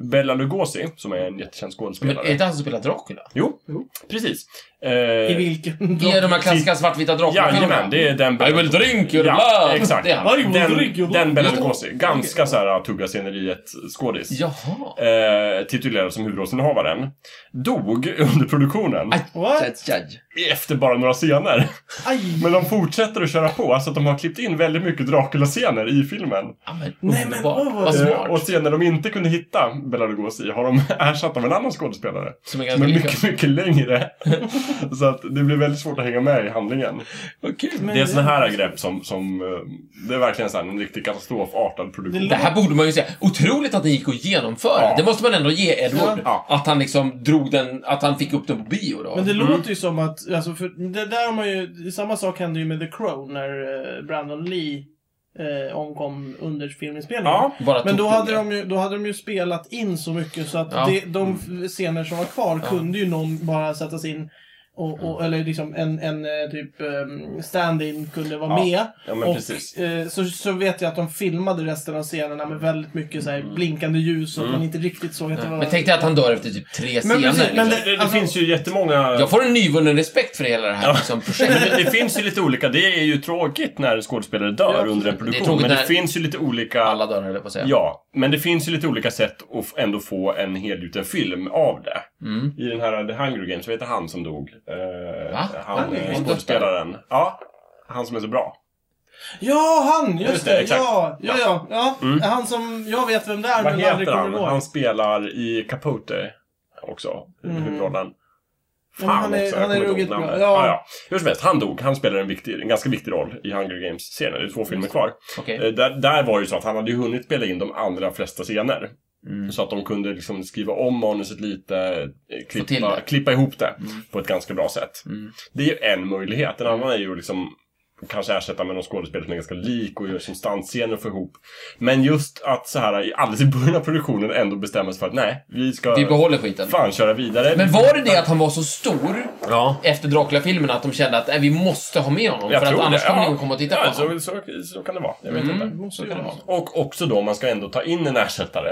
Bella Lugosi, som är en jättekänd Men eh, är skådespelare. det han som spelar Dracula? Jo, Jo. precis. I Eh, vilken Det är de här klassiska svartvita drakarna. Jajamän, det är den I will drink your Ja, blood. exakt. Det är han. Oj, vad dryg Den, jag den var. Bella Lugosi. Ganska så här tugga sceneriet-skådis. Jaha. Eh, titulerad som huvudrollsinnehavaren. Dog under produktionen. What? Efter bara några scener. Aj! Men de fortsätter att köra på, så att de har klippt in väldigt mycket Dracula-scener i filmen. Ja, men, Nej, men underbart. åh, vad- Vad Eh, Och smart. scener de inte kunde hitta Bela Lugosi har de ersatt av en annan skådespelare. Som är Som ganska är lika. mycket, mycket längre. så att det blir väldigt svårt att hänga med i handlingen. Vad kul. Men Det är såna här grepp som, som eh, det är verkligen så här en riktig katastrofartad produktion. Det här borde man ju säga. Otroligt att den gick att genomföra. Ja. Det måste man ändå ge Edward. Ja. Att han liksom drog den, att han fick upp den på bio då. Men det Mm. låter ju som att, alltså för det där har man ju, samma sak hände ju med The Crow när eh, Brandon Lee eh, omkom under filminspelningen. Ja, Bara Men tog då den hade, där. de ju, då hade de ju spelat in så mycket så att Ja. Mm. det, de f- scener som var kvar kunde ju någon bara sätta sig in Och, Mm. och, eller liksom en, en eh, typ eh, stand-in kunde vara Ja. med. Ja, men och, precis. Eh, så, så vet jag att de filmade resten av scenerna med väldigt mycket så här, Mm. blinkande ljus och att man inte riktigt såg att det var... Men tänk dig att han dör efter typ tre scener. precis, men liksom. det- Det, det alltså- finns ju jättemånga... Jag får en nyvunnen respekt för hela det här Ja. liksom, Men projektet. det, det finns ju lite olika. Det är ju tråkigt när en skådespelare dör absolut. under en Det är produktion. tråkigt men det när- finns ju lite olika... Alla dörrar, höll jag på att säga. Ja, men det finns ju lite olika sätt att f- ändå få en helgjuten film av det. Mm. I den här The Hunger Games, vad heter han som dog? Eh, Va? han Hunger eh, Games? skådespelaren. Ja, han som är så bra. Ja, han! Just, Just det, det. exakt. Ja, ja, ja. ja. Mm. Han som... Jag vet vem det är, Vad men aldrig heter kommer han? ihåg. Han spelar i Capote också, Mm. huvudrollen. Ja, Fan men han är- också, han jag är kommer inte ruggigt ihåg bra. namnet. Ja. Ja. ja. Hur som helst, han dog. Han spelar en, viktig, en ganska viktig roll i Hunger Games-serien. Det är två filmer kvar. Okej. Eh, Där, där var det ju så att han hade ju hunnit spela in de allra flesta scener. Mm. Så att de kunde liksom skriva om manuset lite, eh, till klippa, det. klippa ihop det Mm. på ett ganska bra sätt. Mm. Det är ju en möjlighet. En annan är ju liksom kanske ersätta med någon skådespelare som är ganska lik och gör substansscener och få ihop. Men just att så här i- alldeles i början av produktionen ändå bestämma sig för att nej, vi ska Vi behåller skiten. fan köra vidare. Men var det det att han var så stor Ja. efter Dracula-filmen att de kände att "Nej, vi måste ha med honom? Jag för att tror det, annars kommer ja. ingen komma och titta Ja, på honom. så, så, så kan det vara. Jag vet Mm. inte. Måste Så kan ju det vara. vara. Och också då, man ska ändå ta in en ersättare.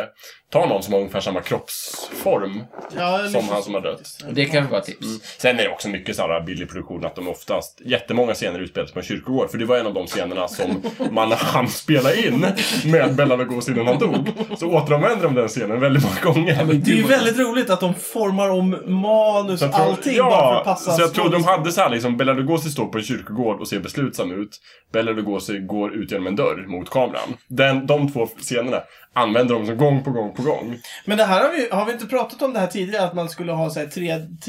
Ta någon som har ungefär samma kroppsform Ja, eller som så- han som har dött. Det kan vara ett tips. Sen är det också mycket så här billig produktion att de oftast, jättemånga scener utspelas på en kyrkogård. För det var en av de scenerna som man hann spela in med Bella Lugosi innan han dog. Så återanvänder de den scenen väldigt många gånger. Det är ju väldigt roligt att de formar om manus Så och jag tror- allting bara för ja, att passa så jag tror de skådespel. hade så här liksom, Bela Lugosi står på en kyrkogård och ser beslutsam ut. Bela Lugosi går ut genom en dörr mot kameran. Den, de två scenerna använder de som gång på gång på gång. Men det här har vi, har vi inte pratat om det här tidigare? Att man skulle ha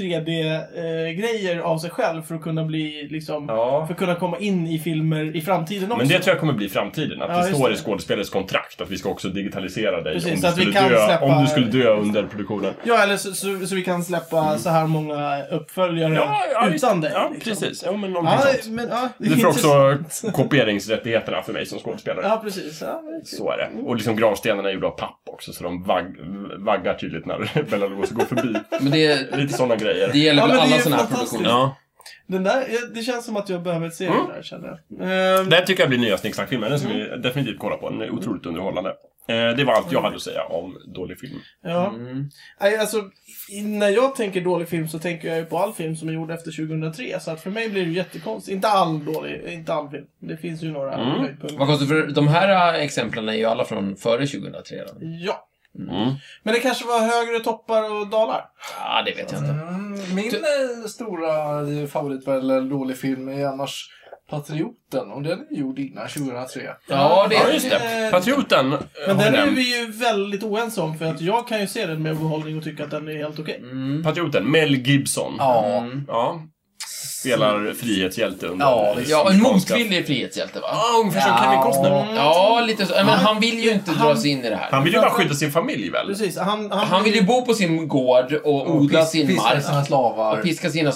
3D-grejer eh, av sig själv för att kunna bli liksom... Ja. För att kunna komma in i filmer i framtiden också. Men det tror jag kommer bli framtiden. Att Ja, det just står det. i skådespelares kontrakt att vi ska också digitalisera dig Precis, om, så du att vi skulle kan dö, släppa- om du skulle dö under produktionen. Ja, eller så, så, så vi kan släppa så här många uppföljare utan dig. Mm. Ja, liksom. precis. Ja, men någonting Ja, sånt. men, ja, det är Du får intressant. också kopieringsrättigheterna för mig som skådespelare. Ja, precis. Ja, men det är kul. Så är det. Och liksom gravstenarna är gjorda av papp också, så de vagg, vaggar tydligt när Bella Lugosi går förbi. Men det, Lite sådana grejer. det gäller Ja, väl men det är alla ju sådana här fantastiskt. produktioner. Ja. Den där, ja, det känns som att jag behöver se Mm. den där, känner jag. Ehm, Det här tycker jag blir nya Snicksnack-filmen. Den ska vi Mm. definitivt kolla på. Den är otroligt underhållande. Eh, Det var allt jag hade att säga om dålig film. ja. Mm. Nej, alltså, i- när jag tänker dålig film så tänker jag ju på all film som är gjord efter 2003. Så att för mig blir det jättekonstigt. Inte all dålig, inte all film. Det finns ju några Mm. höjdpunkter. Vad konstigt, för de här äh, exemplen är ju alla från före 2003. Då. Ja. Mm. Men det kanske var högre toppar och dalar. Ja, det vet jag inte. Mm, min eh, stora eh, favorit, eller dålig film, är annars Patrioten. Och den är gjord innan 2003. Ja, det Ja, är just det. Eh, Patrioten eh, Men har den är nämnt. vi ju väldigt oense om. För att jag kan ju se den med behållning och tycka att den är helt okej. Mm. Patrioten, Mel Gibson. Ja. Mm. Ja. Spelar frihetshjälte under... Ja, Ja, en amerikanska- motvillig frihetshjälte, va? Ja, ungefär som Kevin Costner. Ja, lite så. Men han vill ju inte Han- dras in i det här. Han vill ju bara skydda sin familj väl? Precis. Han, han, Han vill ju bo på sin gård och odla Pis- sin piskar sina mark. slavar. Och piska sina Ja, han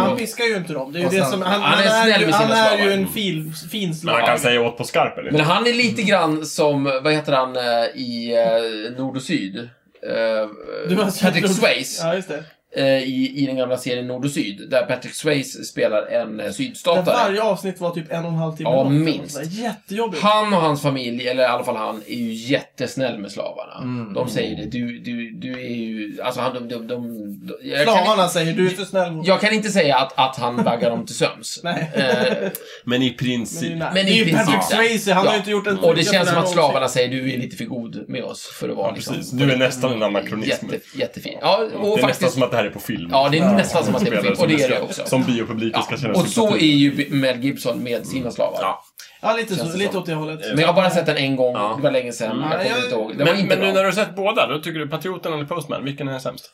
slavar. piskar ju inte dem. Det är ju Och det sen- som, han, han är han är snäll ju, med han sina är ju slavar. en fin, fin Men han slav. kan säga åt på skarpen. Men Liksom. han är lite grann som, vad heter han eh, i eh, Nord och Syd? Eh, Du har sett Patrick dem. Swayze. Ja, just det. eh, i, i den gamla serien Nord och Syd, där Patrick Swayze spelar en eh, Där sydstatare. varje avsnitt var typ en och en halv timme Ja, långt. minst. Det var Jättejobbigt. Han och hans familj, eller i alla fall han, är ju jättesnäll med slavarna. Mm. De säger det, du, du, du är ju, alltså han, de, de, de, de jag, kan, Slavarna säger du är för snäll mot jag kan inte säga att, att han vaggar dem till söms. Nej. Eh, Men i Men det är princip. ju nära. Men det är ju i Patrick princip- Swayze, han Ja. har ju inte gjort en och det lucka känns på som den att här slavarna säger, du är lite för god med oss för att vara liksom... Precis. Du är nästan en anachronism. Jätte, jättefin. Ja, och det är faktiskt... nästan som att det här är på film. Ja, det är nästan som att det är på film. Spelare Och det är ska- det också. Som biopubliken ska Ja, känna och så är sympati. ju Mel Gibson med sina slavar. Ja. Ja, lite Känns så. det Lite som. åt det hållet. Men jag har bara sett den en gång, Ja. det var länge sedan. Mm. Jag Ja, kommer jag- inte ihåg. Den var Men, inte men nu bra. när du har sett båda, då tycker du Patrioten eller Postman? Vilken är sämst?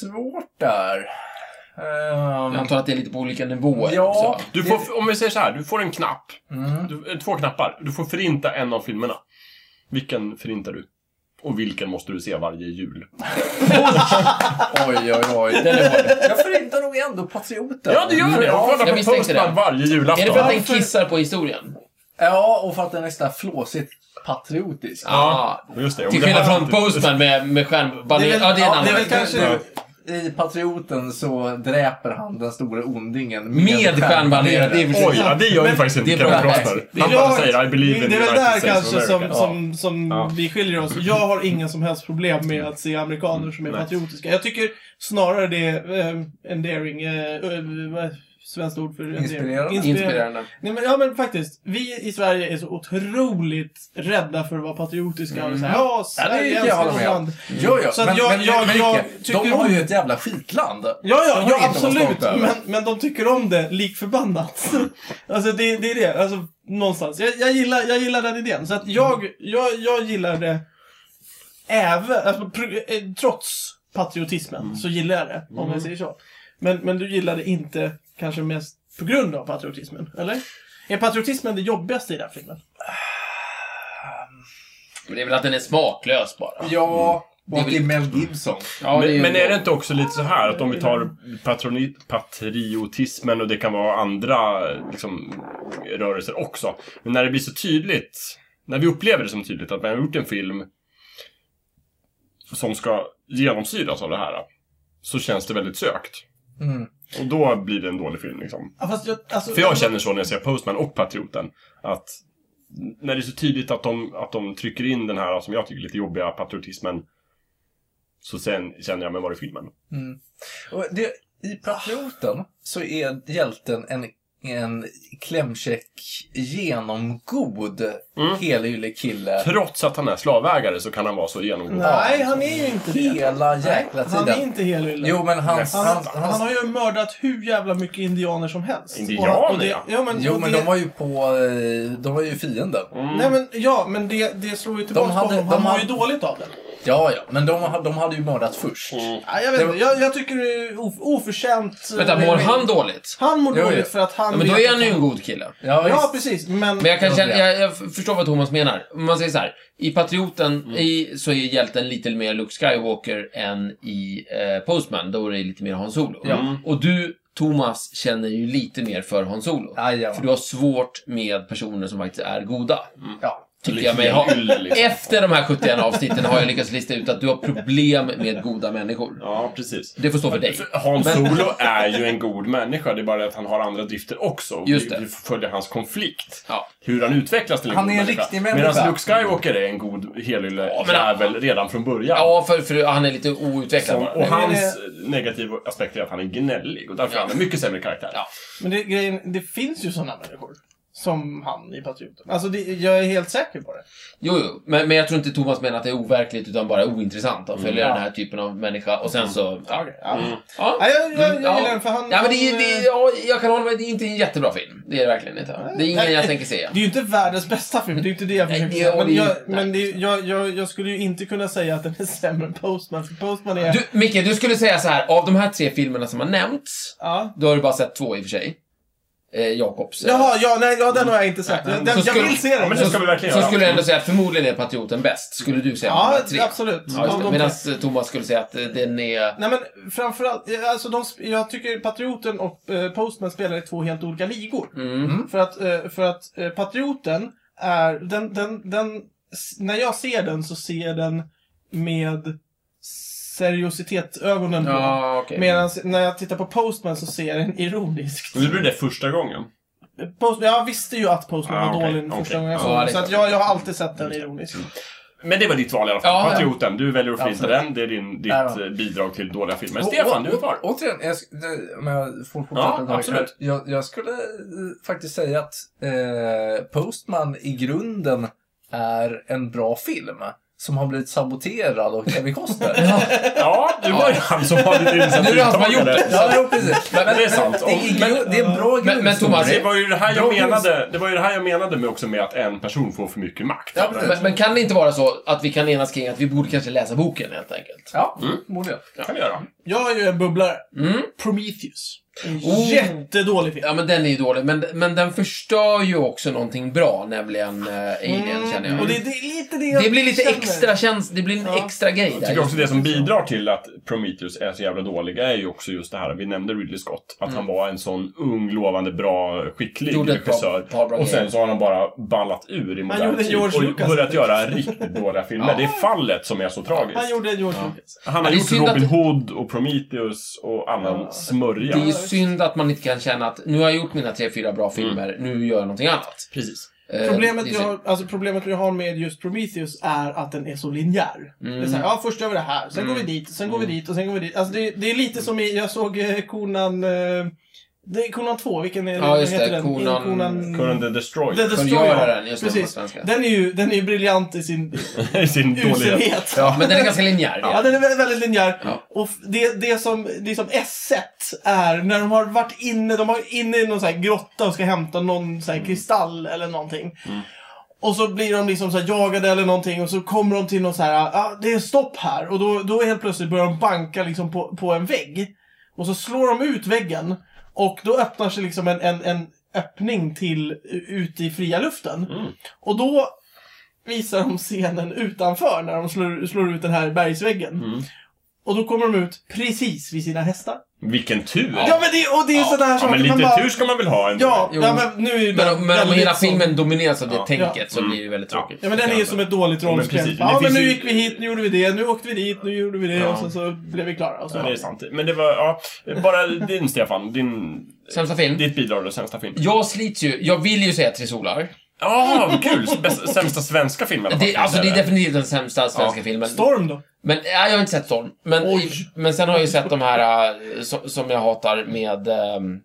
Svårt där. Ehm, Jag antar att det är lite på olika nivåer Ja. också. Du får, om vi säger så här, du får en knapp. mm. Du, eh, två knappar. Du får förinta en av filmerna. Vilken förintar du? Och vilken måste du se varje jul? Oj, oj, oj. Den är hård. Jag förintar nog ändå Patrioten. Ja, det gör det! Och Ja, kolla jag på misstänkte Postman det. varje Är det för att julafton. den kissar på historien? ja, och för att den är sådär flåsigt patriotisk. Ja. Just det. om Till det skillnad här- från Postman med, med stjärnbaner. Det är väl- Ja, det är ja, en annan. det är väl Det- kanske- det- Ja. i Patrioten så dräper han den stora ondingen Med stjärnbanderat, det är i och för sig Oj, ja, det gör ju Men- faktiskt inte det är bra. Kevin Costner. Han bara säger I believe in det är väl United där States of kanske som, America." som, som Ja. vi skiljer oss. Jag har inga som helst problem med att se amerikaner som är Nej. patriotiska. Jag tycker snarare det är eh, endearing. Eh, eh, vad är svenskt ord för endearing? Inspirerande. inspirerande. Nej, men, ja men faktiskt. Vi i Sverige är så otroligt rädda för att vara patriotiska. Mm. Och så här, ja, Sverige jag är hålla vårt med om. land. Jo, jo. Så att men, jag- men, jag- men, jag Micke, de tycker har om- ju ett jävla skitland. Ja, De ja, har ja inget att vara absolut. stolta över. Men, men de tycker om det lik förbannat. alltså det, det är det. Alltså, någonstans. Jag, jag, gillar, jag gillar den idén. Så att jag, jag, jag gillar det även, alltså, pro- eh, trots patriotismen Mm. så gillar jag det. Om jag säger så. Men, men du gillar det inte kanske mest på grund av patriotismen, eller? Är patriotismen det jobbigaste i den här filmen? Men det är väl att den är smaklös bara. Ja, och är att det är väl- Mel Gibson. Ja, men, ju- men är det inte också lite så här att om vi tar patroni- patriotismen och det kan vara andra liksom, rörelser också. Men när det blir så tydligt, när vi upplever det som tydligt att vi har gjort en film som ska genomsyras av det här. Så känns det väldigt sökt. Mm. Och då blir det en dålig film liksom. Ja, fast jag, alltså, För jag känner så när jag ser Postman och Patrioten. Att när det är så tydligt att de, att de trycker in den här som jag tycker lite jobbiga patriotismen. Så sen känner jag, men var är filmen? Och det, I Patrioten så är hjälten en, en klämkäck, genomgod, Mm. helylle kille. Trots att han är slavägare så kan han vara så genomgod. Nej, han är ju inte det. Hela jäkla Nej, Han är tiden. inte helylle. Jo, men hans... Nästan. Han, hans, han, hans har ju mördat hur jävla mycket indianer som helst. Indianer, Och- och det, ja. ja. men, jo, och men det, Mm. de var ju på... eh, De var ju fienden. Nej, men ja, men det, det slår ju tillbaka hade- på honom. de Han mår hade- ju dåligt av det. Ja, ja, men de, ha- de hade ju mördat först. Mm. Ja, jag vet Det var- inte, jag, jag tycker det är of, oförtjänt. eh, Vänta, mår han dåligt? Han mår Jo, jo. dåligt för att han... Ja, men då vet är att han ju en god kille. Ja, Ja, visst. precis. Men... Men jag, kan Ja, känna, det är. jag, jag f- förstår vad Thomas menar. Om man säger så här. I Patrioten Mm. i, så är hjälten lite mer Luke Skywalker än i eh, Postman. Då är det lite mer Han Solo. Och du, Thomas, känner ju lite mer för Han Solo. Jajamän. För du har svårt med personer som faktiskt är goda. Mm. Ja. Tycker jag mig ha. Hylle, liksom. Efter de här 71 avsnitten har jag lyckats lista ut att du har problem med goda människor. Ja, precis. Det får stå för dig. Han Solo är ju en god människa, det är bara det att han har andra drifter också. Och Just vi- det. Vi följer hans konflikt. Ja. Hur han utvecklas till en Han god är en människa. riktig människa. Medan Luke Skywalker är en god helylle men- jävel redan från början. Ja, för, för han är lite outvecklad Som, bara. och Men är hans negativa aspekt är att han är gnällig och därför Ja. är han en mycket sämre karaktär. Ja. Men det, grejen, det finns ju sådana människor. Som han i Patrioten. Alltså, det, jag är helt säker på det. Jo, jo. Men, men jag tror inte Thomas menar att det är overkligt utan bara ointressant att följa den här typen av människa och sen så... Ja, Mm. Okej, ja. Mm. ja. Nej, jag, jag, jag gillar Mm, ja. den för han... ja men det är, han, det eh, är, ja, jag kan hålla med, det är inte en jättebra film. Det är det verkligen inte. Det är ingen Nej. jag tänker se. Det är ju inte världens bästa film, det är ju inte det jag Nej, försöker säga. det- och det Men, är jag, ju- men det, är ju- jag, jag, jag skulle ju inte kunna säga att den är sämre än Postman, för Postman är... Du, Micke, du skulle säga så här, av de här tre filmerna som har nämnts, Ja. då har du bara sett två i och för sig. Eh, Jakobs. eh, Jaha, ja, nej, ja, den har jag inte sett. Den, Så den, jag skulle- vill se Ja, den. men det ska vi verkligen Så göra. skulle jag ändå säga att förmodligen är Patrioten bäst, skulle du säga. av de Ja, här tre. absolut. Ja, just Om det. de- Medan eh, Thomas skulle säga att eh, den är... Nej men framförallt, eh, alltså de, sp- jag tycker Patrioten och eh, Postman spelar i två helt olika ligor. Mm. För att, eh, för att eh, Patrioten är, den, den, den, s- när jag ser den så ser jag den med seriositetsögonen på. Ja, okej. Medan när jag tittar på Postman så ser jag den ironiskt. Men det blir det första gången. Post, jag visste ju att Postman Ah, var okej, dålig den okej. Mm. första gången jag Ja, såg det är den. Så att klart. jag, jag har alltid sett den ironisk. Men det var ditt val i alla fall. Ja, ja. Patrioten, du väljer att flinta Absolut. den. Det är din, ditt Ja, ja. eh, bidrag till dåliga filmer. Stefan, du är kvar. Å- Återigen, jag, sk- det- om jag får fortsätta. Ja, en gång. absolut. Jag, jag skulle eh, faktiskt säga att eh, Postman i grunden är en bra film som har blivit saboterad av Kevin Costner. Ja, det var ju han som var lite Nu är det han som har gjort det. Ja, jo, precis. Men, det är sant. Men, det, är, gru- det är en bra Men- men Thomas, Alltså, grundstory. Det var ju det här Bra jag menade, det var ju det här jag menade med också med att en person får för mycket makt. Ja, precis. Men, men kan det inte vara så att vi kan enas kring att vi borde kanske läsa boken helt enkelt? Ja, Mm. borde jag. Det kan vi göra. Jag har ju en bubblare. Mm. Prometheus. En Oh. Jättedålig film. Ja, men den är ju dålig. Men, men den förstör ju också någonting bra, nämligen eh, Alien, känner jag. Mm. Och det, det är lite det det jag blir lite känner. extra känsla, det blir en Ja. extra grej Jag där. tycker också det som bidrar till att Prometheus är så jävla dålig är ju också just det här, vi nämnde Ridley Scott, att han var en sån ung, lovande, bra, skicklig Mm. Gjorde ett bra- regissör. par bra och sen grejer. så har han bara ballat ur i modern gjorde tid George och Lucas. börjat göra riktigt dåliga filmer. Ja. Det är fallet som är så tragiskt. Han gjorde George Lucas. Han har Ja, det är gjort synd Robin att- Hood och Prometheus och annan Ja. smörja. Det är ju synd att man inte kan känna att nu har jag gjort mina tre, fyra bra filmer, nu gör jag någonting annat. Precis. Eh, Problemet det är vi, synd. har, alltså problemet vi har med just Prometheus är att den är så linjär. Det Mm. är så här, ja först gör vi det här, sen går vi dit, sen går vi dit och sen går vi dit. Alltså det, det är lite som i, jag såg eh, Conan... Eh, det är Conan 2, vilken är Ja, just heter det, den? Conan- Conan the Destroyer. The Destroyer. Kungöraren, just det, på Precis. svenska. Den är ju, den är ju briljant i sin I sin dålighet. uselhet. Ja, men den är ganska linjär. Ja, den är väldigt, väldigt linjär. Ja. Och f- det, det som liksom S-et är när de har varit inne, de har inne i någon så här grotta och ska hämta någon Mm. så här kristall eller någonting. Och så blir de liksom så här jagade eller någonting och så kommer de till någon så här, ah, det är stopp här. Och då, då helt plötsligt börjar de banka liksom på, på en vägg. Och så slår de ut väggen. Och då öppnar sig liksom en, en, en öppning till ut i fria luften. Mm. Och då visar de scenen utanför när de slår, slår ut den här bergsväggen. Mm. Och då kommer de ut precis vid sina hästar. Vilken tur! Ja, men det, och det är ju sådana här Ja, saker men man lite bara- tur ska man väl ha ändå? Ja, Jo. ja, men nu är ju Men, den men om väldigt hela så- filmen domineras av det tänket så Mm. blir det väldigt tråkigt. Ja men den är ju som ett dåligt men rollspel. precis. Ja Det men finns nu ju- gick vi hit, nu gjorde vi det, nu åkte vi dit, nu gjorde vi det Ja. och sen så blev vi klara. Och så. Ja, det är sant. Men det var, ja, bara din Stefan, din, Sämsta film? ditt bidrag då, sämsta film. Jag slits ju. Jag vill ju säga Tre Solar. Ja, vad kul! Bäst, Ah, sämsta svenska film i alla fall. Det, alltså det är Eller? definitivt den sämsta svenska Ja. filmen. Storm då? Men nej, jag har inte sett Storm. Men, Oj. men sen har jag ju sett de här eh, som, som jag hatar med ehm,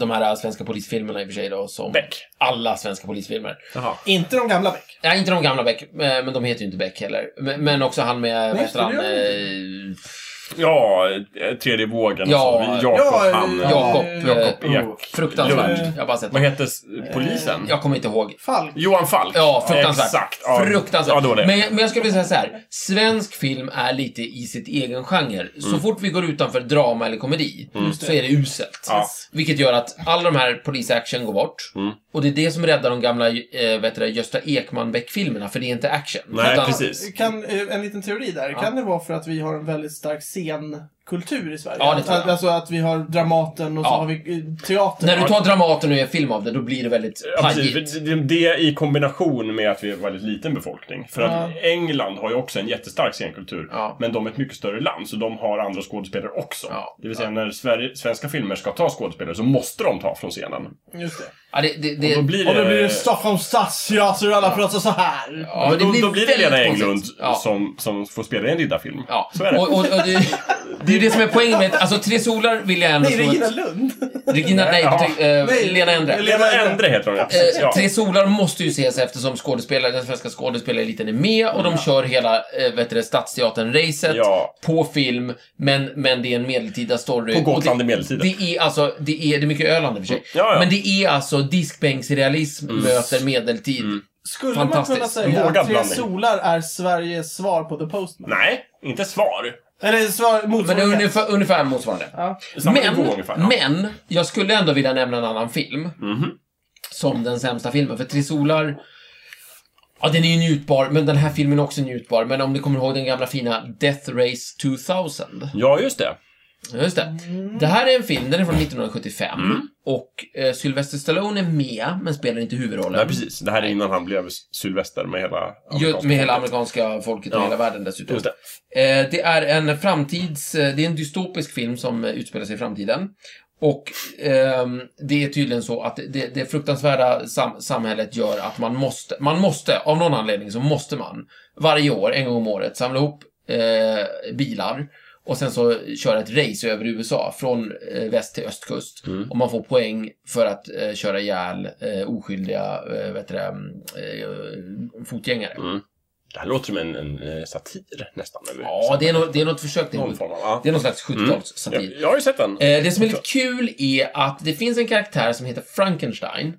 de här eh, svenska polisfilmerna i och för sig då. Som Beck. Alla svenska polisfilmer. Jaha. Inte de gamla Beck. Nej, inte de gamla Beck, eh, men de heter ju inte Beck heller. Men, men också han med, vad Nej, heter han? det Eh, Ja, eh, tredje vågen och Ja, så. Vi- Jakob, ja, han... ja. Jakob. Jakob eh, Ek. Fruktansvärt. Lund. Jag har bara sett Vad heter s- polisen? Jag kommer inte ihåg. Falk. Johan Falk. Ja, fruktansvärt. Exakt. Ja, fruktansvärt. Ja, det var det. Men, jag, men jag skulle vilja säga så här. Svensk film är lite i sitt egen genre. Så Mm. fort vi går utanför drama eller komedi så är det uselt. Ja. Mm. Vilket gör att all de här polisaction går bort. Och det är det som räddar de gamla eh, vet du, det, Gösta Ekman-Beck-filmerna, för det är inte action. Nej, Utan- precis. Kan, eh, en liten teori där. Kan det vara för att vi har en väldigt stark scenkultur i Sverige? Ja, det tror jag. Alltså att vi har Dramaten och så Ja. har vi eh, teatern. När du tar Dramaten och gör film av det, då blir det väldigt Ja, precis. pajigt. För det- Det i kombination med att vi är en väldigt liten befolkning. För att Ja. England har ju också en jättestark scenkultur. Ja. Men de är ett mycket större land, så de har andra skådespelare också. Ja. Det vill säga, när Sverige, svenska filmer ska ta skådespelare så måste de ta från scenen. Just det. Ja, det, det, Och det, då blir det... Och då blir det Stockholms stadsjö, så alla pratar så här. ja, men då, då blir det Lena väldigt Englund konstigt. Ja. som, som får spela i en riddarfilm. Ja, Så är det. Och, och, och det, det är ju det som är poängen med alltså Tre Solar vill jag ändå Nej, slå Regina ett... Lund. Regina, nej, Ja. ty- eh, Nej, Lena Endre. Lena- Lena Endre heter hon, ja. Precis, Eh, ja. Tre Solar måste ju ses eftersom skådespelare, den svenska skådespelareliten är med och de kör hela eh, vet du, det, Stadsteatern-racet Ja. på film, men, men det är en medeltida story. På Och Gotland det, i medeltiden. Det är alltså, det är, det är mycket Öland i och för sig. Ja, Mm. ja. Men det är alltså diskbänksrealism möter medeltid. Mm. Skulle man Fantastiskt. kunna En säga vågad att Tre blandning. solar är Sveriges svar på The Postman? Nej, inte svar. Eller svar, Men det är motsvarighet. ungefär, ungefär motsvarande. Ja. Samma nivå Men, ungefär. ja. Mhm. men, jag skulle ändå vilja nämna en annan film. Som den sämsta filmen, för Tre Solar... Ja, den är ju njutbar, men den här filmen är också njutbar. Men om ni kommer ihåg den gamla fina Death Race 2000. Ja, just det. Ja, Just det. Det här är en film, den är från 1975. Mm. Och eh, Sylvester Stallone är med, men spelar inte huvudrollen. Nej, precis. Det här är innan han blev Sylvester med hela... Ju- amerikanska Med hela folket. amerikanska folket och Ja. hela världen dessutom. Just det. Eh, det är en framtids... eh, Det är en dystopisk film som eh, utspelar sig i framtiden. Och ehm, det är tydligen så att det, det fruktansvärda sam samhället gör att man måste, man måste, av någon anledning så måste man varje år, en gång om året, samla ihop eh, bilar och sen så köra ett race över USA från eh, väst till östkust. Och man får poäng för att eh, köra ihjäl eh, oskyldiga eh, vet du, det, eh, fotgängare. Det här låter som en, en eh, satir nästan. Eller? Ja, det är, något, det är något försök till Någon form av... Ja. Det är någon slags 70-talssatir. Jag, jag har ju sett den. Eh, Det som är lite kul är att det finns en karaktär som heter Frankenstein.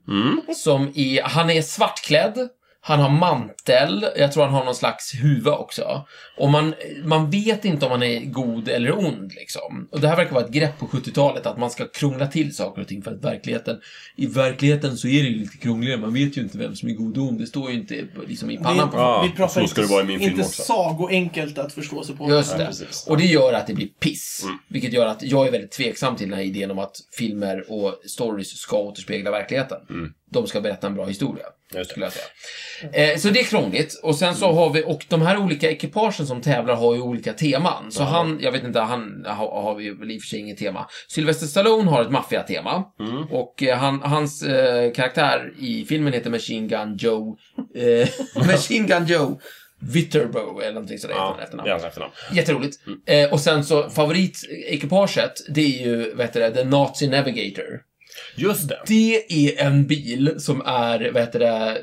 Som är, han är svartklädd, han har mantel, jag tror han har någon slags huva också. Och man, man vet inte om han är god eller ond liksom. Och det här verkar vara ett grepp på 70-talet, att man ska krångla till saker och ting för att verkligheten, i verkligheten så är det ju lite krångligare, man vet ju inte vem som är god och ond, det står ju inte liksom i Det är- pannan på folk. Ja, vi pratar så inte, ska det vara i min film inte också. sagoenkelt att förstå sig på. Just Nej, det. precis. och det gör att det blir piss. Mm. Vilket gör att jag är väldigt tveksam till den här idén om att filmer och stories ska återspegla verkligheten. de ska berätta en bra historia. Mm. Just det. Skulle Mm. jag säga. Eh, så det är krångligt. Och sen så har vi, och de här olika ekipagen som tävlar har ju olika teman. Så han, jag vet inte, han har, har ju väl i och för sig inget tema. Sylvester Stallone har ett maffiatema. Mm. Och eh, han, hans eh, karaktär i filmen heter Machine Gun Joe. Eh, Machine Gun Joe Viterbo eller någonting sådär heter Ja, han i det efternamn. är hans efternamn. Jätteroligt. Mm. Eh, och sen så favoritekipaget, det är ju, vad heter det, The Nazi Navigator. Just det. Det är en bil som är, vad heter det, eh,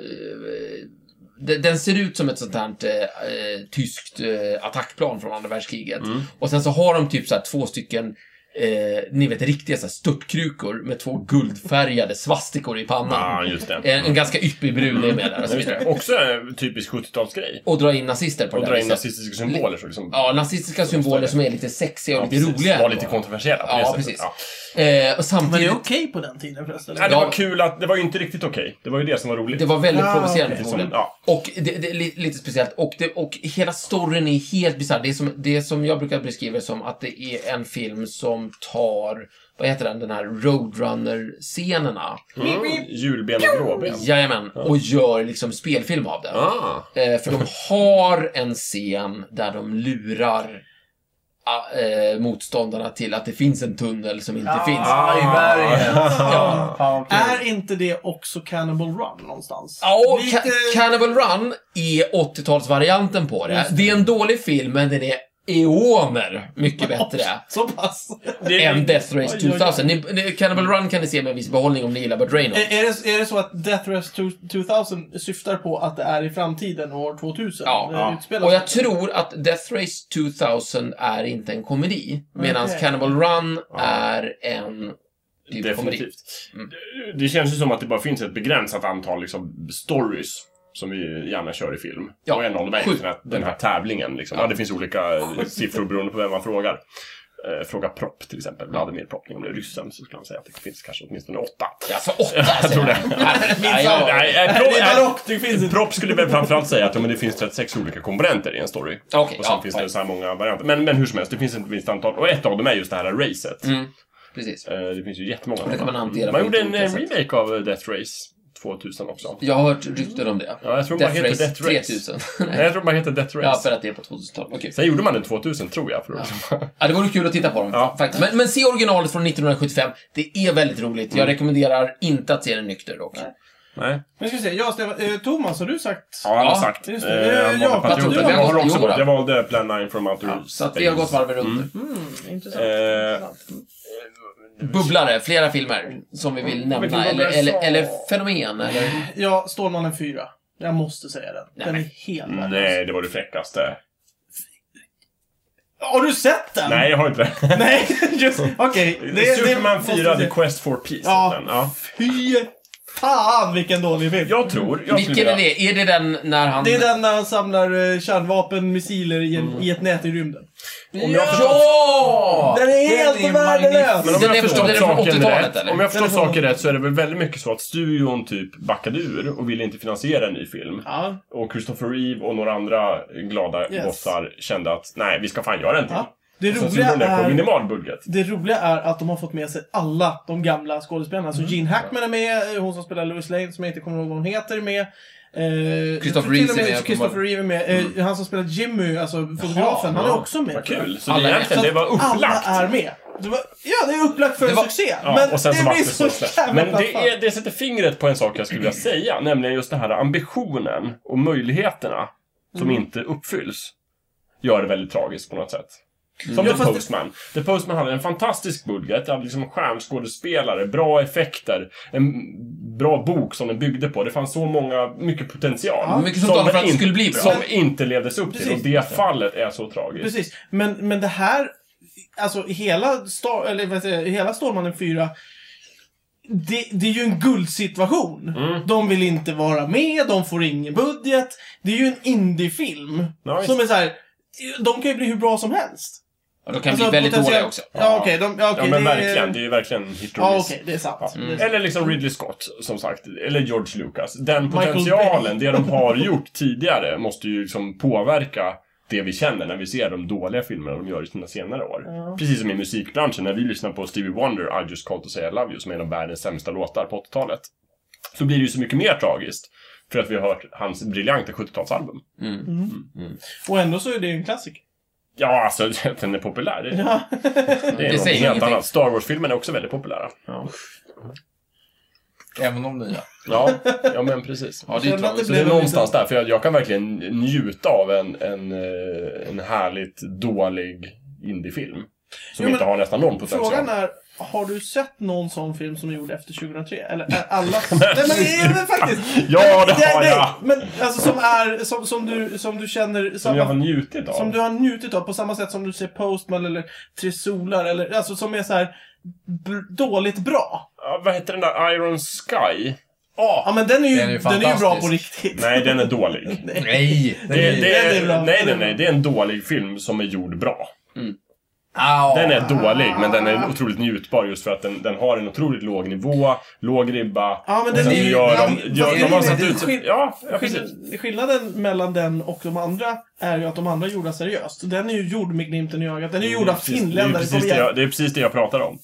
de- den ser ut som ett sånt här eh, tyskt eh, attackplan från andra världskriget. Mm. Och sen så har de typ så här två stycken Eh, ni vet riktiga så här störtkrukor med två guldfärgade svastikor i Ja, pannan. Ah, just det. En, en ganska yppig brun är med där alltså, och så Just det. vidare. Också en typisk 70-talsgrej. Och dra in nazister på Och det dra där in viset. nazistiska symboler. Så liksom, Ja, nazistiska symboler som är lite sexiga och lite precis. roliga. Var ändå. lite kontroversiella på Ja, det sättet. precis. Ja. eh, och Var det samtidigt, okej på den tiden förresten? Nej, det Ja. var kul att... Det var ju inte riktigt okej. Det var ju det som var roligt. det var väldigt Ja, provocerande Ah, okej. förmodligen. Som- ja. Och det, det är li- lite speciellt. Och, det, och hela storyn är helt bisarr. Det, är som- det är som jag brukar beskriva som att det är en film som tar, vad heter den, den här Roadrunner-scenerna. Mm. Julben och gråben. Jajamän. Och gör liksom spelfilm av det. Ah. Eh, för de har en scen där de lurar ah, eh, motståndarna till att det finns en tunnel som inte Ah. finns. Ah, i berget. Ja. Fan, vad kul. Är inte det också Cannibal Run någonstans? Ja, och Lite- Ca- Cannibal Run är 80-talsvarianten på det. Det är en dålig film, men den är eoner mycket bättre Så pass. Det- än Death Oj, Race oj, oj. 2000. Ni, ni, Cannibal Run kan ni se med viss behållning om ni gillar Burt Eh, Reynolds. Är, är, det, är det så att Death Race 2000 syftar på att det är i framtiden, år 2000? Ja, det ja. utspelar Och sig? jag tror att Death Race 2000 är inte en komedi, medan Okej. Cannibal Run är en typ komedi. Definitivt. Det- Det känns ju som att det bara finns ett begränsat antal liksom, stories som vi gärna kör i film. Ja. Och en av dem är Sju. ju den här, den här tävlingen. Liksom. Ja. det finns olika eh, siffror beroende på vem man frågar. Eh, Fråga Propp till exempel, Vladimir Propp, om det är ryssen så skulle han säga att det finns kanske åtminstone åtta. Alltså åtta, säger tror det. Nej, jag- Nej, Nej, eh, det är Propp, barock, det finns eh, inte. Propp skulle väl framförallt säga att ja, men det finns 36 olika komponenter i en story. Okej, och sen ja, finns fine. det så här många varianter. Men, men hur som helst, det finns ett visst antal. Och ett av dem är just det här racet. Precis. Eh, Det finns ju jättemånga. Mm. Det kan man hantera man på gjorde en olika eh, sätt. remake av Death Race 2000 också. Jag har hört rykten om det. Ja, jag tror Death man heter Race Death Race. 3000. Nej, jag tror man heter Death Ja, för Race. att det är på 2000-talet. Okej. Sen gjorde man den 2000 tror jag. För att... Ja, det vore kul att titta på dem. Ja. Faktiskt. Men, men se originalet från 1975. Det är väldigt roligt. Jag rekommenderar inte att se den nykter dock. Nej. Men ska vi se, jag och Stefan, eh, Thomas, har du sagt? Ja, han Ja, har sagt. just Eh, det. han Ja, valde Patrioten. Patrioten. Jag har också Jo då. gått. Jag valde Plan 9 from Outer Ja, Space. så att vi har gått varvet runt nu. Mm, intressant. Eh, intressant. Bubblare, flera filmer som vi vill vet nämna. inte vad Eller, jag sa. eller, eller fenomen. Eller... Ja, Stålmannen 4. Jag måste säga den. Den är helt värdelös. Mm, Nej, det var det fräckaste. Har du sett den? Nej, jag har inte det. Nej, just... Okej. det- Superman måste 4, vi The se. Quest for Peace. Ja. heter den. ja. Fy fan vilken dålig film. Jag tror... Jag skulle Vilken är vilja- det? Är det den när han... Det är den när han samlar eh, kärnvapen, missiler i, Mm. en, i ett nät i rymden. Om jag förstår... Ja! Den är helt värdelös! Men om Den jag är- förstår den är från saken 80-talet, rätt, eller? om jag förstår Den är från- saken rätt så är det väl väldigt mycket så att studion typ backade ur och ville inte finansiera en ny film. Ja. Och Christopher Reeve och några andra glada Yes. gossar kände att nej, vi ska fan göra en till. Ja. Det Sen så gjorde roliga de det på är... minimal budget. Det roliga är att de har fått med sig alla de gamla skådespelarna. Mm. Så Gene Hackman är med, eh, hon som spelar Lois Lane, som jag inte kommer ihåg vad hon heter, är med. Eh, Christopher till och Reeves är med, Mm. Christopher Reeve är med. Eh, Han som spelar Jimmy, alltså fotografen, han är också med. Vad kul! Så Alla det, är- egentligen, det var Alla upplagt. är med. Det var, ja, det är upplagt för Det var- succé. Ja, men och sen det så vart blir det så så släppt. jävla Men det, plattfall. är, det sätter fingret på en sak jag skulle vilja säga, nämligen just den här ambitionen och möjligheterna som Mm. inte uppfylls. Gör det väldigt tragiskt på något sätt. Som Mm. Ja, The fast det- Postman. The Postman hade en fantastisk budget, det hade liksom stjärnskådespelare, bra effekter, en bra bok som den byggde på. Det fanns så många, mycket potential. Ja, mycket som talar för att det in- skulle bli bra. Som inte levdes upp till. Precis. Och det fallet är så tragiskt. Precis. Men, men det här, alltså hela, Star, eller, vad säger, jag, hela Stålmannen 4, det, det är ju en guldsituation. Mm. De vill inte vara med, de får ingen budget. Det är ju en indiefilm. Ja, visst. som är så här, de kan ju bli hur bra som helst. Alltså, Ja, de kan bli väldigt potentiell- dåliga också. Ja, okej. de, ja, Ja, okej, men det är- verkligen. Det är ju verkligen hit or Ja, miss. okej. det är sant. Ja. Det är sant. Eller liksom Ridley Scott, som sagt. Eller George Lucas. Den Michael potentialen, det de har gjort tidigare, måste ju liksom påverka det vi känner när vi ser de dåliga filmerna de gör i sina senare år. Precis som i musikbranschen, när vi lyssnar på Stevie Wonder, I just called to say I love you, som är en av världens sämsta låtar på 80-talet. så blir det ju så mycket mer tragiskt. För att vi har hört hans briljanta 70-talsalbum. Mm. Och ändå så är det ju en klassiker. Ja, alltså den är populär. Det, Ja. det är Det säger något helt ingenting. annat. Star Wars-filmerna är också väldigt populära. Ja, Även de nya. ja, ja men precis. Ja, det är Kände att tragiskt. Så det är liksom- någonstans där, för jag, jag kan verkligen njuta av en, en, eh, en härligt dålig indiefilm. Som Jo, inte men har nästan någon potential. Frågan är, har du sett någon sån film som är gjord efter 2003? Eller är alla... nej, men, nej, men faktiskt! Ja, det har nej, jag! Men alltså som är, som, som, du, som du känner... Som jag har samma- njutit av. som du har njutit av på samma sätt som du ser Postman eller Tre Solar eller alltså som är så här b- dåligt bra. Ja, vad heter den där Iron Sky? Ah! Ja men den är ju, Den är den ju är ju bra fantastisk. på riktigt. Nej, den är dålig. Nej! Det, det, Den är bra. nej, nej, nej. Det är en dålig film som är gjord bra. Au. Den Ah. är dålig, men den är otroligt njutbar just för att den, den har en otroligt låg nivå, låg ribba. Ja men Och den sen är så ju... gör ja, de... men- Gör, fast de har det- satt det- ut... skill- Ja, ja, precis. skill- Skillnaden mellan den och de andra är ju att de andra är gjorda seriöst. Den är ju gjord med glimten i ögat. Den är ju gjord av Mm, Precis, finländare. Det kom är, precis det, igen. jag, det är precis det jag pratar om.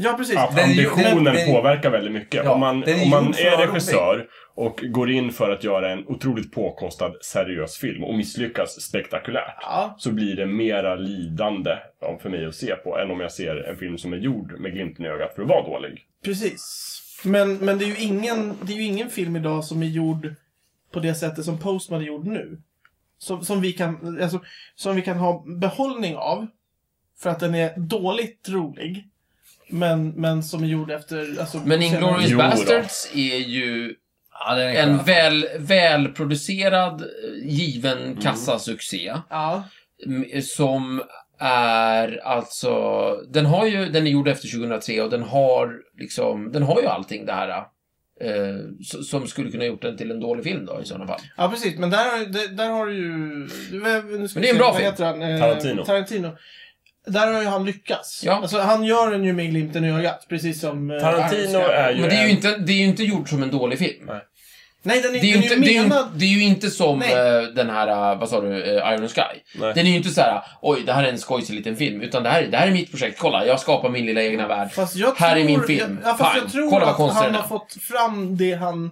Ja, precis. Att Den är ju- ambitionen den- den- påverkar väldigt mycket. Ja, om man, den är om man gjord för är att vara regissör och går in för att göra en otroligt påkostad, seriös film och misslyckas spektakulärt. Ja. Så blir det mera lidande om- för mig att se på än om jag ser en film som är gjord med glimten i ögat för att vara dålig. Precis. Men, men det, är ju ingen, det är ju ingen film idag som är gjord på det sättet som Postman är gjord nu. Som, som, vi kan, alltså, som vi kan ha behållning av. För att den är dåligt rolig. Men, men som är gjord efter... Alltså, Men senare- Inglourious Jo då. Basterds är ju Ja, den är en en väl, välproducerad, eh, given kassasuccé. Ja. m- som är alltså, den har ju, den är gjord efter 2003 och den har liksom, den har ju allting det här eh, s- som skulle kunna gjort den till en dålig film då i sådana fall. ja, precis. Men där, har- där, där har du ju... du- Nu ska vi Men det är se, en bra vad film. heter han? Eh, Tarantino. Tarantino. Där har ju han lyckats. Ja. Alltså, han gör den ju med glimten i ögat. Precis som... eh, Iron Tarantino Sky. är ju, Men det är ju en- inte, det är ju inte gjort som en dålig film. Nej, den är, Det är ju den inte, det är ju, menad... det är ju inte som Nej. eh, den här, eh, vad sa du, eh, Iron Sky. Nej. Den är ju inte så här, oj, det här är en skojsig liten film, utan det här, det här är mitt projekt, kolla, jag skapar min lilla egna värld. Fast jag Här tror, är min film. Ja, fast Pang. jag tror Kolla vad att konstig han den är. har fått fram det han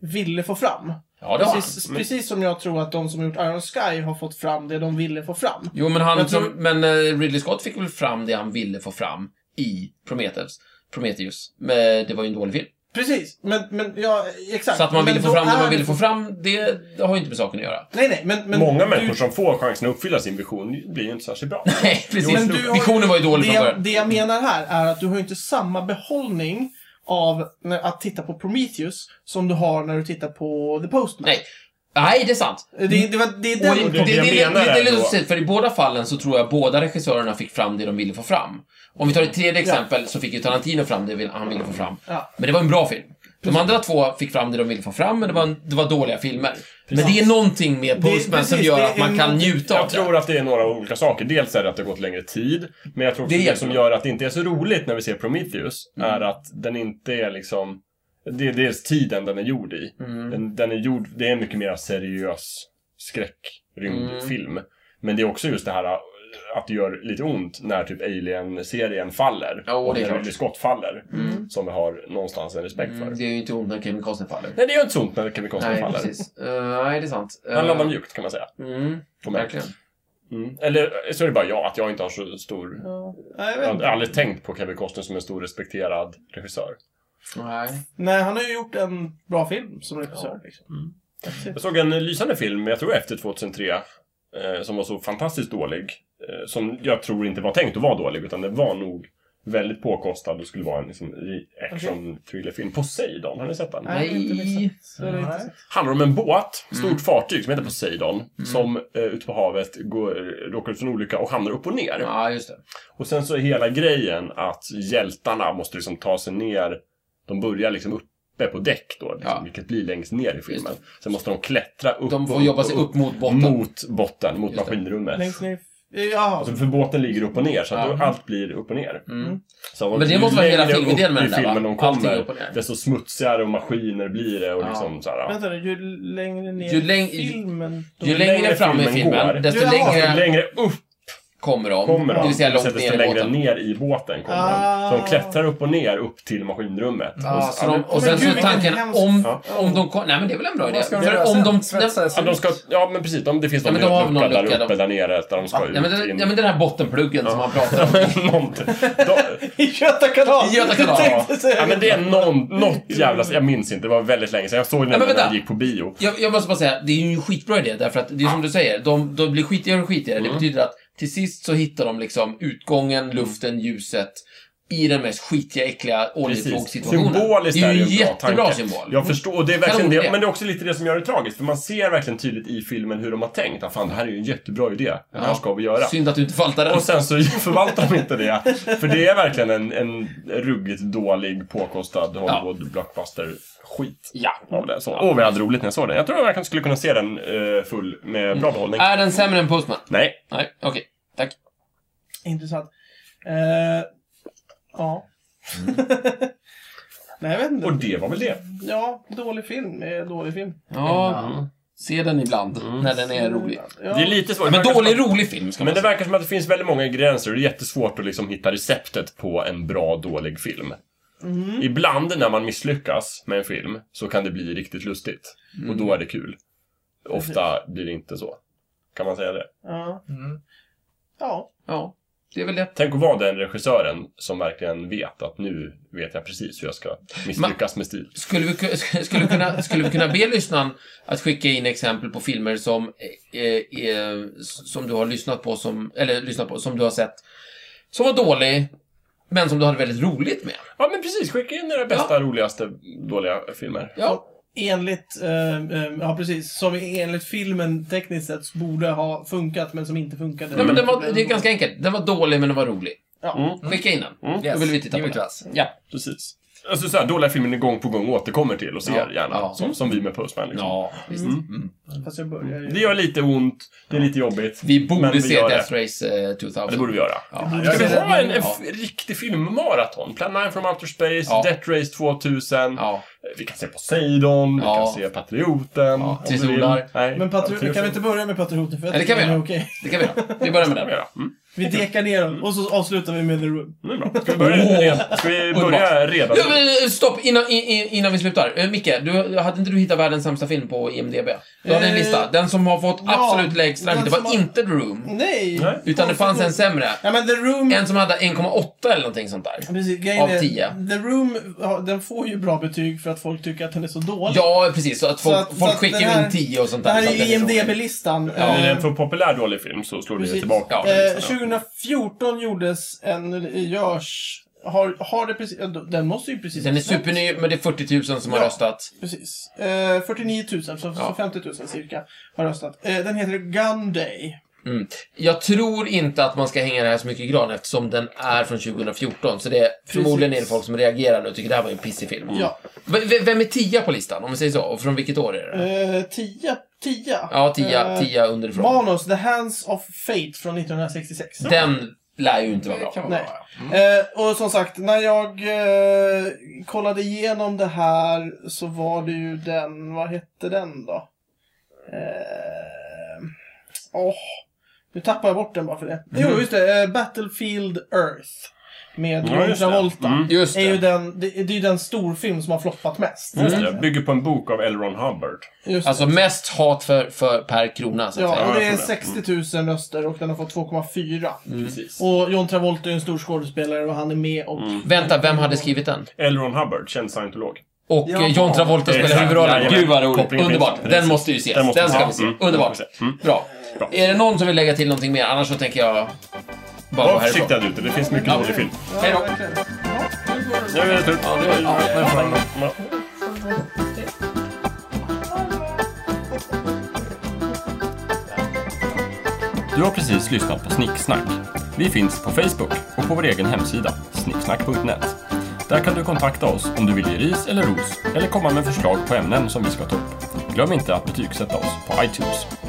ville få fram. Ja, det har han. Precis, precis som jag tror att de som har gjort Iron Sky har fått fram det de ville få fram. Jo, men, han, Jag tror- som, men eh, Ridley Scott fick väl fram det han ville få fram i Prometheus. Prometheus. Men eh, det var ju en dålig film. Precis, men, men ja, exakt. Så att man Men ville få då fram det är- man ville få fram, det, det har ju inte med saken att göra. Nej, nej, men... men Många du- människor som får chansen att uppfylla sin vision blir ju inte särskilt bra. Nej, precis. men du har- Visionen var ju dålig det, från jag, början. det jag menar här är att du har ju inte samma behållning av när- att titta på Prometheus som du har när du tittar på The Postman. Nej. Nej, det är sant. Det, det, var- det är Och i- den det, det, jag det, menar det, det är ändå. lite precis, för i båda fallen så tror jag båda regissörerna fick fram det de ville få fram. Om vi tar ett tredje exempel så fick ju Tarantino fram det vill- han ville få fram. Ja. Men det var en bra film. De andra två fick fram det de ville få fram, men det var, en, det var dåliga filmer. Men det är någonting med Postman som precis, gör det att är man kan någonting- njuta av Jag det. tror att det är några olika saker. Dels är det att det har gått längre tid. Men jag tror också Det det, är Mm. som jättebra. gör att det inte är så roligt när vi ser Prometheus är att den inte är liksom... Det är dels tiden den är gjord i. Mm. Den, den är gjord... Det är en mycket mer seriös skräckrymdfilm. Men det är också just det här äh, att det gör lite ont när typ Alien-serien faller. Ja, och och det är när klart. Mm. Ridley Scott faller. Som vi har någonstans en respekt för. Det är ju inte ont när Kevin Costner faller. Nej, det gör inte så ont när Kevin Costner Mm. Nej, faller. precis. Eh, nej, det är sant. Eh, Han landar mjukt kan man säga. Mm, På mig. verkligen. Mm. Eller så är det bara jag, att jag inte har så stor Ja, jag Jag vet hade inte. aldrig tänkt på Kevin Costner som en stor respekterad regissör. Nej. Nej, han har ju gjort en bra film som regissör. Liksom. Jag såg en lysande film, jag tror efter 2003, eh, som var så fantastiskt dålig. Eh, som jag tror inte var tänkt att vara dålig, utan den var nog väldigt påkostad och skulle vara en liksom, action thrillerfilm. Poseidon, har ni sett den? Nej, inte Nej. riktigt. Så det är inte så. Handlar om en båt, stort fartyg som heter Poseidon, som eh, ute på havet går, råkar ut för en olycka och hamnar upp och ner. Ja, just det. Och sen så är hela grejen att hjältarna måste liksom ta sig ner. De börjar liksom uppe på däck då, liksom, Ja. vilket blir längst ner i filmen. Just Sen måste de klättra upp De och får jobba och sig upp mot botten. Mot botten, mot Just det. maskinrummet. Längst ner. i- Ja, Alltså, för båten ligger upp och ner, så att Ja. då allt blir upp och ner. Mm. Så Men det måste vara ju hela längre filmidén upp med i den där, va? filmen de Allting kommer, upp och ner. desto smutsigare och maskiner blir det. Och Ja. liksom så här, ja. vänta nu. Ju längre ner Ju läng- i filmen... Ju längre fram i filmen, går, desto Ja, längre längre upp kommer de. Kommer de, det vill säga långt sätter sig ner i längre båten. ner i båten. Kommer Ah. de. Så de klättrar upp och ner upp till maskinrummet. Ah, och, så Så Alltså, de, och sen Men så gud, är vilken tanken hemsk- om, Ja. om de kom, Nej men det är väl en bra idé. Vad ska de För göra om sen? de, Svetsa nej, ja, sig de ut? ska, ja, men precis. De, det finns Ja, någon men de har väl lucka någon där lucka, uppe, de- där nere, där de ska ut. nej, men, den- in. nej men den här bottenpluggen som man pratar om. Någonting. De- I Göta kanal! I Göta kanal, Jag Ja. tänkte säga ja, men det är någon, något jävla... Jag minns inte, det var väldigt länge sedan. Jag såg den Nej, men när jag vänta. gick på bio. Jag, jag måste bara säga, det är ju en skitbra idé därför att det är som du säger, de, de blir skitigare och skitigare. Det betyder att till sist så hittar de liksom utgången, luften, ljuset i den mest skitiga, äckliga oljetågssituationen. Symboliskt det är ju en en bra jättebra tanke. symbol. Jag förstår, och det är verkligen det. Kanon idé. Men det är också lite det som gör det tragiskt. För man ser verkligen tydligt i filmen hur de har tänkt. Ah, fan, det här är ju en jättebra idé. Det här Ja. ska vi göra. Synd att du inte faltar den. Och sen så förvaltar de inte det. För det är verkligen en, en ruggigt dålig, påkostad Hollywood blockbuster-skit. Ja. Av det. Så. Åh, vi hade roligt när jag såg den. Jag tror jag verkligen skulle kunna se den eh, full med bra behållning. Är den sämre än Postman? Nej, Nej, okej. Tack. Intressant. Eh, ja. Nej, jag vet inte. och det var väl det. Ja, dålig film är dålig film. Ja, se den ibland när den är rolig. Ja. Det är lite svårt. Men Det verkar dålig, som att- rolig film ska man Men det säga. verkar som att det finns väldigt många gränser och det är jättesvårt att liksom hitta receptet på en bra, dålig film. Mm. Ibland när man misslyckas med en film så kan det bli riktigt lustigt. Och Mm. då är det kul. Ofta blir det inte så. Kan man säga det? Ja. Mm. ja. Ja, det är väl det. Tänk att vara den regissören som verkligen vet att nu vet jag precis hur jag ska misslyckas med stil. Skulle vi, ku- skulle, vi kunna, skulle vi kunna be lyssnaren att skicka in exempel på filmer som, eh, eh, som du har lyssnat på, som, eller lyssnat på, som du har sett, som var dålig, men som du hade väldigt roligt med? Ja, men precis. Skicka in era bästa, roligaste, dåliga filmer. Ja, Enligt, eh, eh, ja precis, som enligt filmen tekniskt sett borde ha funkat men som inte funkade. nej, men den var, det är ganska enkelt. Den var dålig, men den var rolig. Ja. Mm. Skicka in den. Yes. Då vill vi titta på New den. class. Ja. Precis. Alltså såhär, dåliga filmer ni gång på gång återkommer till och ser Ja. gärna. Ja. Som, som vi med Postman liksom. ja, visst. Fast jag börjar ju... Det gör lite ont, det är lite jobbigt. Vi men borde vi se gör det. Death Race eh, 2000. Ja, det borde vi göra. Ja. Ska vi ha en, en Ja. f- riktig filmmaraton? Plan 9 from Outer Space, Ja. Death Race 2000. Ja. Vi kan se Poseidon, vi Ja. kan se Patrioten. Ja, om du Tre vill. solar. Nej, Men Patru- Patrioten. kan vi inte börja med Patrioten? För jag Ja, det kan vi tycker göra. den är okej. Det kan vi göra. Vi börjar med Kan vi den. göra. Mm, Vi dekar ner dem och så avslutar vi med The Room. det är bra. Ska vi börja, Åh. redan? Oh. Ska vi börja Underbart. redan? Ja, men, eh, stopp, innan, in, in- innan vi slutar. Eh, Micke, du, hade inte du hittat världens sämsta film på IMDB? Du hade en Eh, lista. Den som har fått ja, absolut lägst rank, den det var som har- inte The Room. Nej! Nej. Utan det fanns en sämre. Ja men The Room... En som hade 1,8 eller någonting sånt där. Precis, grejen Av är- tio. The Room, ja, den får ju bra betyg för att folk tycker att den är så dålig. Ja, precis. Så att folk, Så att- så folk att skickar det här- in 10 och sånt Det där. här så är att den ju rolig. IMDB-listan. Är det Eh, en för populär dålig film så slår ni Precis. tillbaka. Ja. Eh, Liksom. 2014 gjordes en, görs, har, har det precis, den måste ju precis Den är superny, men det är 40 000 som har Ja. röstat. Precis. Eh, 49 000, så, så Ja. 50 000 cirka, har röstat. Eh, den heter Gun Day. Mm. Jag tror inte att man ska hänga det här så mycket i gran eftersom den är från 2014. Så det är, förmodligen är det folk som reagerar nu och tycker det här var en pissig film. Ja. V- v- vem är tia på listan, om vi säger så? Och från vilket år är det? Eh, tia, tia. Ja, tia, Eh, tia underifrån. Manus, The Hands of Fate från 1966. Den lär ju inte vara Det bra. kan vara Nej. bra. Eh, och som sagt, när jag eh, kollade igenom det här så var det ju den, vad hette den då? Eh, åh, nu tappar jag bort den bara för det. Jo, just det. Eh, Battlefield Earth. Med Ja, John just det. Travolta. Mm. Just Är ju det. den, det, det är ju den storfilm som har floppat mest. Just det, bygger på en bok av L. Ron Hubbard. Just det. Alltså mest hat för, för per krona, så att ja, säga. och det Ja, är jag tror Mm. 60 000 röster och den har fått 2,4. Precis. Mm. Och John Travolta är ju en stor skådespelare och han är med och... Vänta, vem hade skrivit den? L. Ron Hubbard, känd scientolog. Och eh, Ja. John Travolta spelar Exakt, huvudrollen. jajamän. Gud vad roligt. Kopplingen finns. Underbart. Den Precis. måste ju ses. Den Den, måste vi ska ha. vi se. Mm. Underbart. Mm. Bra. Bra. Är det någon som vill lägga till någonting mer? Annars så tänker jag bara gå härifrån. Var försiktiga där ute, det finns mycket Ja. dålig film. Hej då. verkligen. Ja, nu går det. Nu är det slut. Ja, det var- ja, det var- Ja. Du har precis lyssnat på Snicksnack. Vi finns på Facebook och på vår egen hemsida, snicksnack.net. Där kan du kontakta oss om du vill ge ris eller ros eller komma med förslag på ämnen som vi ska ta upp. Glöm inte att betygsätta oss på iTunes.